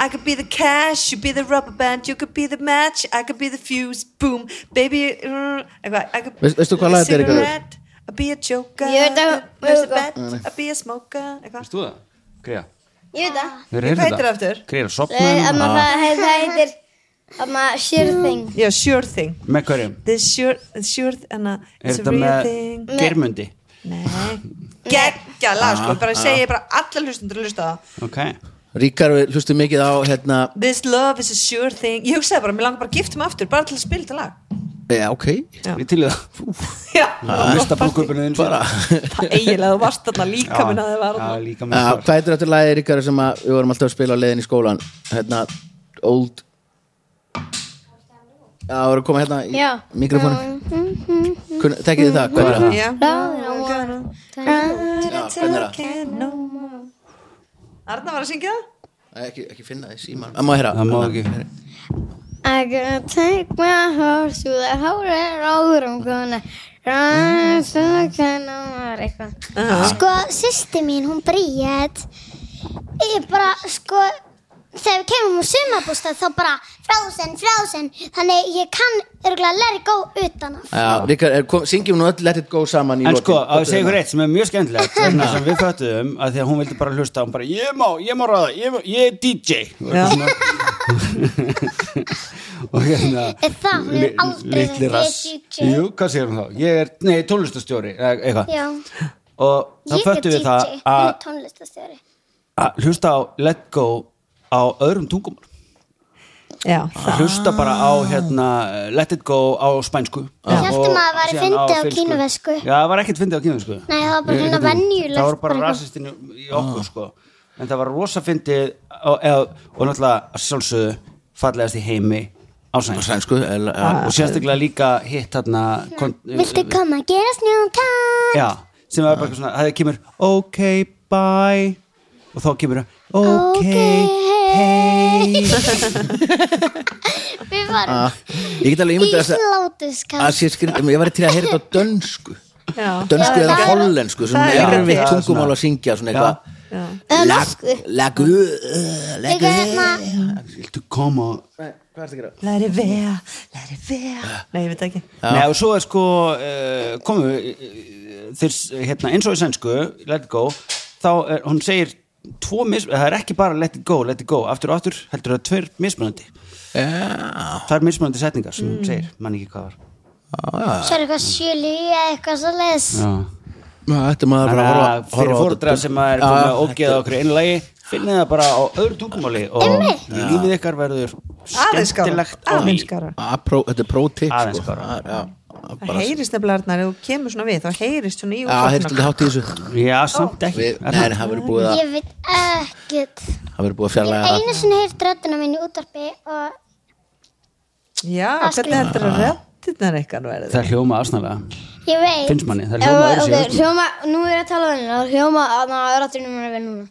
Speaker 3: I could be the cash, you be the rubber band, you could be the match, I could be the fuse, boom, baby, uh, eitthvað, I could
Speaker 2: Veist- veistu hvað lag þetta er, Ríkharður?
Speaker 3: Cigarette, I'll be a joker,
Speaker 6: Ég veit að-
Speaker 3: there's a
Speaker 6: veit
Speaker 3: bet, I'll be a smoker, eitthvað.
Speaker 5: veist þú það? Kriða,
Speaker 6: Ég veit það
Speaker 5: hefur
Speaker 3: Hvað
Speaker 5: heyrðu
Speaker 3: heitir það
Speaker 5: þetta?
Speaker 3: aftur?
Speaker 5: Kriða,
Speaker 6: Nei,
Speaker 5: sopnaðum,
Speaker 6: þarna, Það hei- það heitir Þarna sure thing
Speaker 3: Já, sure thing.
Speaker 5: með hverjum?
Speaker 3: This sure, sure, hana,
Speaker 5: Er
Speaker 3: it's a
Speaker 5: þetta
Speaker 3: real
Speaker 5: með
Speaker 3: thing.
Speaker 5: Geirmundi?
Speaker 3: Nei, geggja
Speaker 5: Ah.
Speaker 3: lag sko, bara segi ég bara alla hlustundur að hlusta á það
Speaker 5: Ok,
Speaker 2: Ríkar hlustu mikið á hérna,
Speaker 3: This love is a sure thing Ég hugsaði bara, mér langar bara að gifta mig aftur, bara til að spila þetta lag
Speaker 2: já ok
Speaker 5: ég til í það
Speaker 3: Já,
Speaker 5: Mista brúkupinu þinn
Speaker 2: bara,
Speaker 3: það eiginlega þú varst þarna líka minn að það var
Speaker 5: Já,
Speaker 3: þarna.
Speaker 5: líka
Speaker 2: já,
Speaker 5: með
Speaker 2: hvað heitir þetta lagið Ríkar sem að við vorum alltaf að spila á leiðin í skólan hérna, old já, það voru að koma hérna í
Speaker 6: Já.
Speaker 2: mikrofónu tekkiðu það, hvað er það?
Speaker 3: Já,
Speaker 2: hvernig er það?
Speaker 3: Arna var að syngja það?
Speaker 2: Nei, ekki, ekki finna því síman það má heyra
Speaker 5: Það má ekki
Speaker 6: I gonna take my horse to the horror road I'm gonna run so I can honor eitthvað
Speaker 4: Sko, sýsti mín, hún Bríett, ég bara, sko, þegar við kemum úr sumabústað þá bara frozen, frozen, þannig ég kann örgulega let it go utan að.
Speaker 2: Já, Ríkar, er- kom- syngjum nú öll Let it go saman í
Speaker 5: En
Speaker 2: lokin.
Speaker 5: sko, að
Speaker 2: Komdu
Speaker 5: segja ykkur
Speaker 2: hérna.
Speaker 5: eitt sem er mjög skemmtilegt vegna sem við föttuðum að því að hún vildi bara hlusta hún bara, ég má, ég má ráða, ég, má- ég er DJ og
Speaker 3: Já.
Speaker 5: eitthvað svona og hérna
Speaker 4: Er það? Hún hefur
Speaker 5: li-
Speaker 4: aldrei sagt,
Speaker 5: litli
Speaker 4: "Ég er
Speaker 5: rass
Speaker 4: DJ.
Speaker 5: Jú, hvað segir hún þá? Ég er, nei, tólestastjóri eitthvað
Speaker 4: Já.
Speaker 5: og þá
Speaker 4: Ég er
Speaker 5: föttuðum
Speaker 4: DJ,
Speaker 5: við
Speaker 4: hún
Speaker 5: það
Speaker 4: er
Speaker 5: að-
Speaker 4: tónlistastjóri.
Speaker 5: að hlusta á Let Go á öðrum tungum
Speaker 3: Já, það
Speaker 5: hlusta bara á hérna, Let It Go á spænsku
Speaker 4: Ég hélt
Speaker 5: Og
Speaker 4: um að það væri
Speaker 5: síðan á
Speaker 4: fyndið á
Speaker 5: finnsku.
Speaker 4: kínversku.
Speaker 5: Já, það var ekkert fyndið á kínversku
Speaker 4: Nei, það var bara svona venjulegt.
Speaker 5: það voru bara
Speaker 4: eitthvað.
Speaker 5: rasistinu í okkur sko. en það var rosa fyndið og, eða, og náttúrulega að sjálfsögðu fallegast í heimi á
Speaker 2: Á
Speaker 5: sæns
Speaker 2: sænsku, el- já.
Speaker 5: og sérstaklega líka hitt þarna kon-
Speaker 4: Ah. Hérna. Viltu koma að gera snjóntag?
Speaker 5: já, sem var bara eitthvað svona það kemur ok, bye og þá kemur það ok, hey Ah,
Speaker 4: Við varum
Speaker 2: Ég get alveg
Speaker 4: í
Speaker 2: ímyndið að þess að
Speaker 4: slátuskap.
Speaker 2: sé skrýndum Ég var til að heyra þetta á dönsku
Speaker 3: Já.
Speaker 2: Dönsku
Speaker 4: Já,
Speaker 2: eða
Speaker 4: það er-
Speaker 2: hollensku sem
Speaker 3: það
Speaker 2: er
Speaker 3: er
Speaker 2: erfitt
Speaker 5: erfitt.
Speaker 2: tungumál að syngja svona eitthvað
Speaker 6: Eða
Speaker 2: Lag-
Speaker 6: norsku
Speaker 2: Lagu eh, Lagu
Speaker 4: Líka hérna-
Speaker 5: viltu koma
Speaker 3: Læri vea, læri vea Nei, ég veit ekki
Speaker 5: Nei, og svo er sko uh, komu uh, þeir, s- hérna, eins og í sænsku Let It Go, þá er, hún segir tvo mis, það er ekki bara Let It Go Let It Go, aftur og aftur, heldur það tveir mismunandi
Speaker 2: Já,
Speaker 5: það er mismunandi setningar sem
Speaker 3: Mm.
Speaker 5: hún segir, mann ekki hvað var
Speaker 4: Svo er eitthvað sjölu eða eitthvað svo leiðis.
Speaker 5: Já.
Speaker 2: þetta er
Speaker 5: Þannig
Speaker 2: maður bara að
Speaker 5: að
Speaker 2: horfa horfa á
Speaker 5: fyrir
Speaker 2: þetta
Speaker 5: fórdra
Speaker 2: dön-
Speaker 5: sem að er
Speaker 2: Já,
Speaker 5: komið að
Speaker 2: þetta-
Speaker 5: ógeða okkur einu lagi finnið það bara á öðru tungumáli og lífið ykkar verður
Speaker 3: Aðeins skara,
Speaker 5: skemmtilegt og
Speaker 3: aðeins
Speaker 5: ný
Speaker 3: skara
Speaker 2: Að pró- Þetta er pro-tip
Speaker 5: Aðeins
Speaker 2: sko.
Speaker 5: bara.
Speaker 2: Að- já, að
Speaker 3: Það
Speaker 2: bara-
Speaker 3: heyrist nefnilega Arnar, ef þú kemur svona við þá heyrist svona í
Speaker 2: Já, heyrst þetta hátt í þessu
Speaker 5: Já, samt ekki
Speaker 2: Við- Nei, það verður búið
Speaker 5: Ah.
Speaker 2: að
Speaker 4: Ég veit ekkert.
Speaker 2: það verður búið að
Speaker 4: Ég
Speaker 2: fjarlæga
Speaker 4: hef
Speaker 2: það
Speaker 4: einu sinni heyrt röddina mín í útarpi og
Speaker 3: Já, hvernig heldur að rettirnar eitthvað verður
Speaker 5: Það hljóma aðsnalega,
Speaker 4: ég veit.
Speaker 5: finnst manni Það hljóma
Speaker 6: Og-
Speaker 5: öðru
Speaker 6: Ok, hljóma, nú er ég að
Speaker 4: um
Speaker 6: tala venjulega og hljóma að það er aftur núna við núna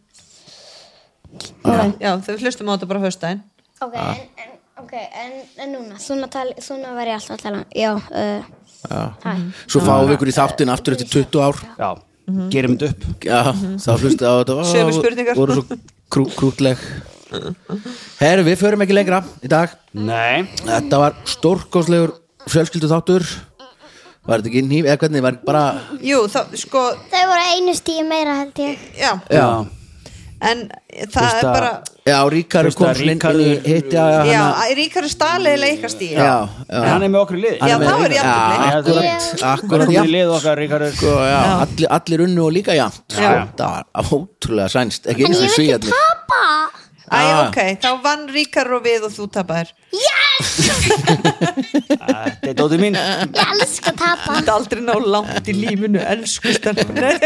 Speaker 3: Já, þau hlustum á þetta bara höstæn
Speaker 6: Ok,
Speaker 5: Ah.
Speaker 6: en, en, ok, en, en núna, svona, tali, svona var ég alltaf að
Speaker 4: um,
Speaker 6: tala Já, uh,
Speaker 5: Ah.
Speaker 2: Já. Svo fáum við ykkur í þáttin aftur eftir 20 ár
Speaker 5: Já, gerum þetta upp
Speaker 2: Já, þá hlustu á þetta Ó,
Speaker 3: Sömu spurningar.
Speaker 2: Voru svo krú, krútleg Herru, við förum ekki lengra í dag
Speaker 5: Nei,
Speaker 2: Þetta var stórkoslegur fjölskyldu þáttur Var þetta ekki nýf, eða hvernig var bara
Speaker 3: Jú, þá, sko,
Speaker 4: Þau voru einu stíu meira held ég.
Speaker 3: já
Speaker 2: Já,
Speaker 3: en það
Speaker 5: Fyrsta-
Speaker 3: er bara
Speaker 2: já Ríkar
Speaker 5: Fyrst að
Speaker 2: kom svo inn í
Speaker 5: Ríkharður-
Speaker 2: hitt Já, já,
Speaker 3: já,
Speaker 2: hana,
Speaker 3: að ríkari staliðilega ykkar stíð
Speaker 2: já,
Speaker 5: En
Speaker 2: já,
Speaker 5: hann er með okkur í liði
Speaker 3: Já, þá er
Speaker 2: já
Speaker 3: jafntefli.
Speaker 2: Akkurat,
Speaker 5: Akkurat
Speaker 2: akkurat
Speaker 5: í
Speaker 2: já.
Speaker 5: lið okkar, Ríkarur
Speaker 2: Sko, já, allir, allir unnu og líka jafnt
Speaker 3: Já.
Speaker 2: Það var ótrúlega sænst Ekki
Speaker 4: En
Speaker 2: eins og
Speaker 4: ég vil ekki
Speaker 2: svíjarnir
Speaker 4: tapa.
Speaker 3: Æ,
Speaker 2: Ah.
Speaker 3: ok, þá vann ríkar og við og þú tapar
Speaker 5: Þetta er dótið mín
Speaker 4: Ég elska að tapa.
Speaker 3: Þetta er aldrei ná langt í lífinu, elsku stelpunar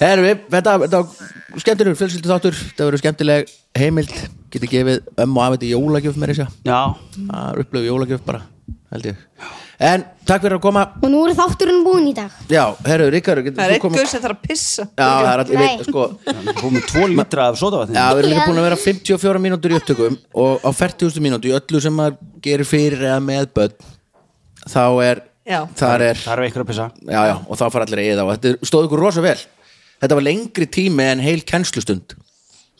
Speaker 2: Herfi, þetta, þetta var skemmtilegur fjölskyldu þáttur Þetta verður skemmtileg heimild Geti gefið ömmu og afi þetta jólagjöf meira sér
Speaker 5: Já,
Speaker 2: Það er upplöfu jólagjöf bara, held ég En takk fyrir að koma
Speaker 6: Og nú er þátturinn búin í dag.
Speaker 2: Já, herru, Ríkar, getur
Speaker 3: það er
Speaker 2: þú
Speaker 3: eitthvað
Speaker 2: koma
Speaker 3: sem þarf að pissa
Speaker 2: Já, það er að, ég
Speaker 6: Nei.
Speaker 2: veit, sko
Speaker 5: komið tvo lítra af sodavatni
Speaker 2: Já, við erum líka búin að vera 54 mínútur í upptökum og á 40 mínútur í öllu sem maður gerir fyrir eða með börn þá er,
Speaker 3: Já.
Speaker 2: þar er
Speaker 5: Það eru eitthvað að pissa
Speaker 2: já, já, og þá fara allir eða og þetta er- stóð ykkur rosa vel þetta var lengri tími en heil kennslustund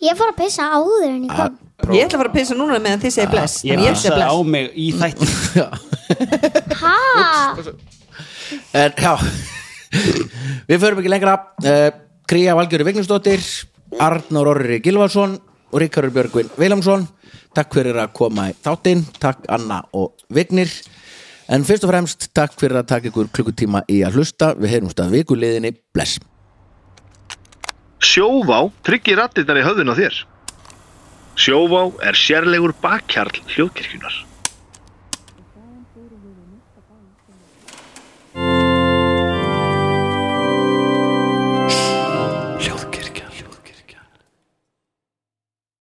Speaker 4: Ég fór að pissa áður en ég kom.
Speaker 3: ég ætla að fara að pissa núna meðan þið segir bless
Speaker 5: Ég
Speaker 3: en ég segi
Speaker 5: pissaði á
Speaker 3: bless
Speaker 5: mig í þætti
Speaker 2: Já.
Speaker 4: Hæ?
Speaker 2: en já við förum ekki lengra Eh, Kría Valgjöri Vignisdóttir Arnór Orri Gilvason og Ríkarur Björgvin Viljámsson takk fyrir að koma í þáttinn takk Anna og Vignir en fyrst og fremst takk fyrir að taka ykkur klukkutíma í að hlusta við heyrumst að vikuliðinni bless
Speaker 1: Sjóvá tryggir rattirnar í höfðun á þér. Sjóvá er sérlegur bakkjarl hljóðkirkjunar.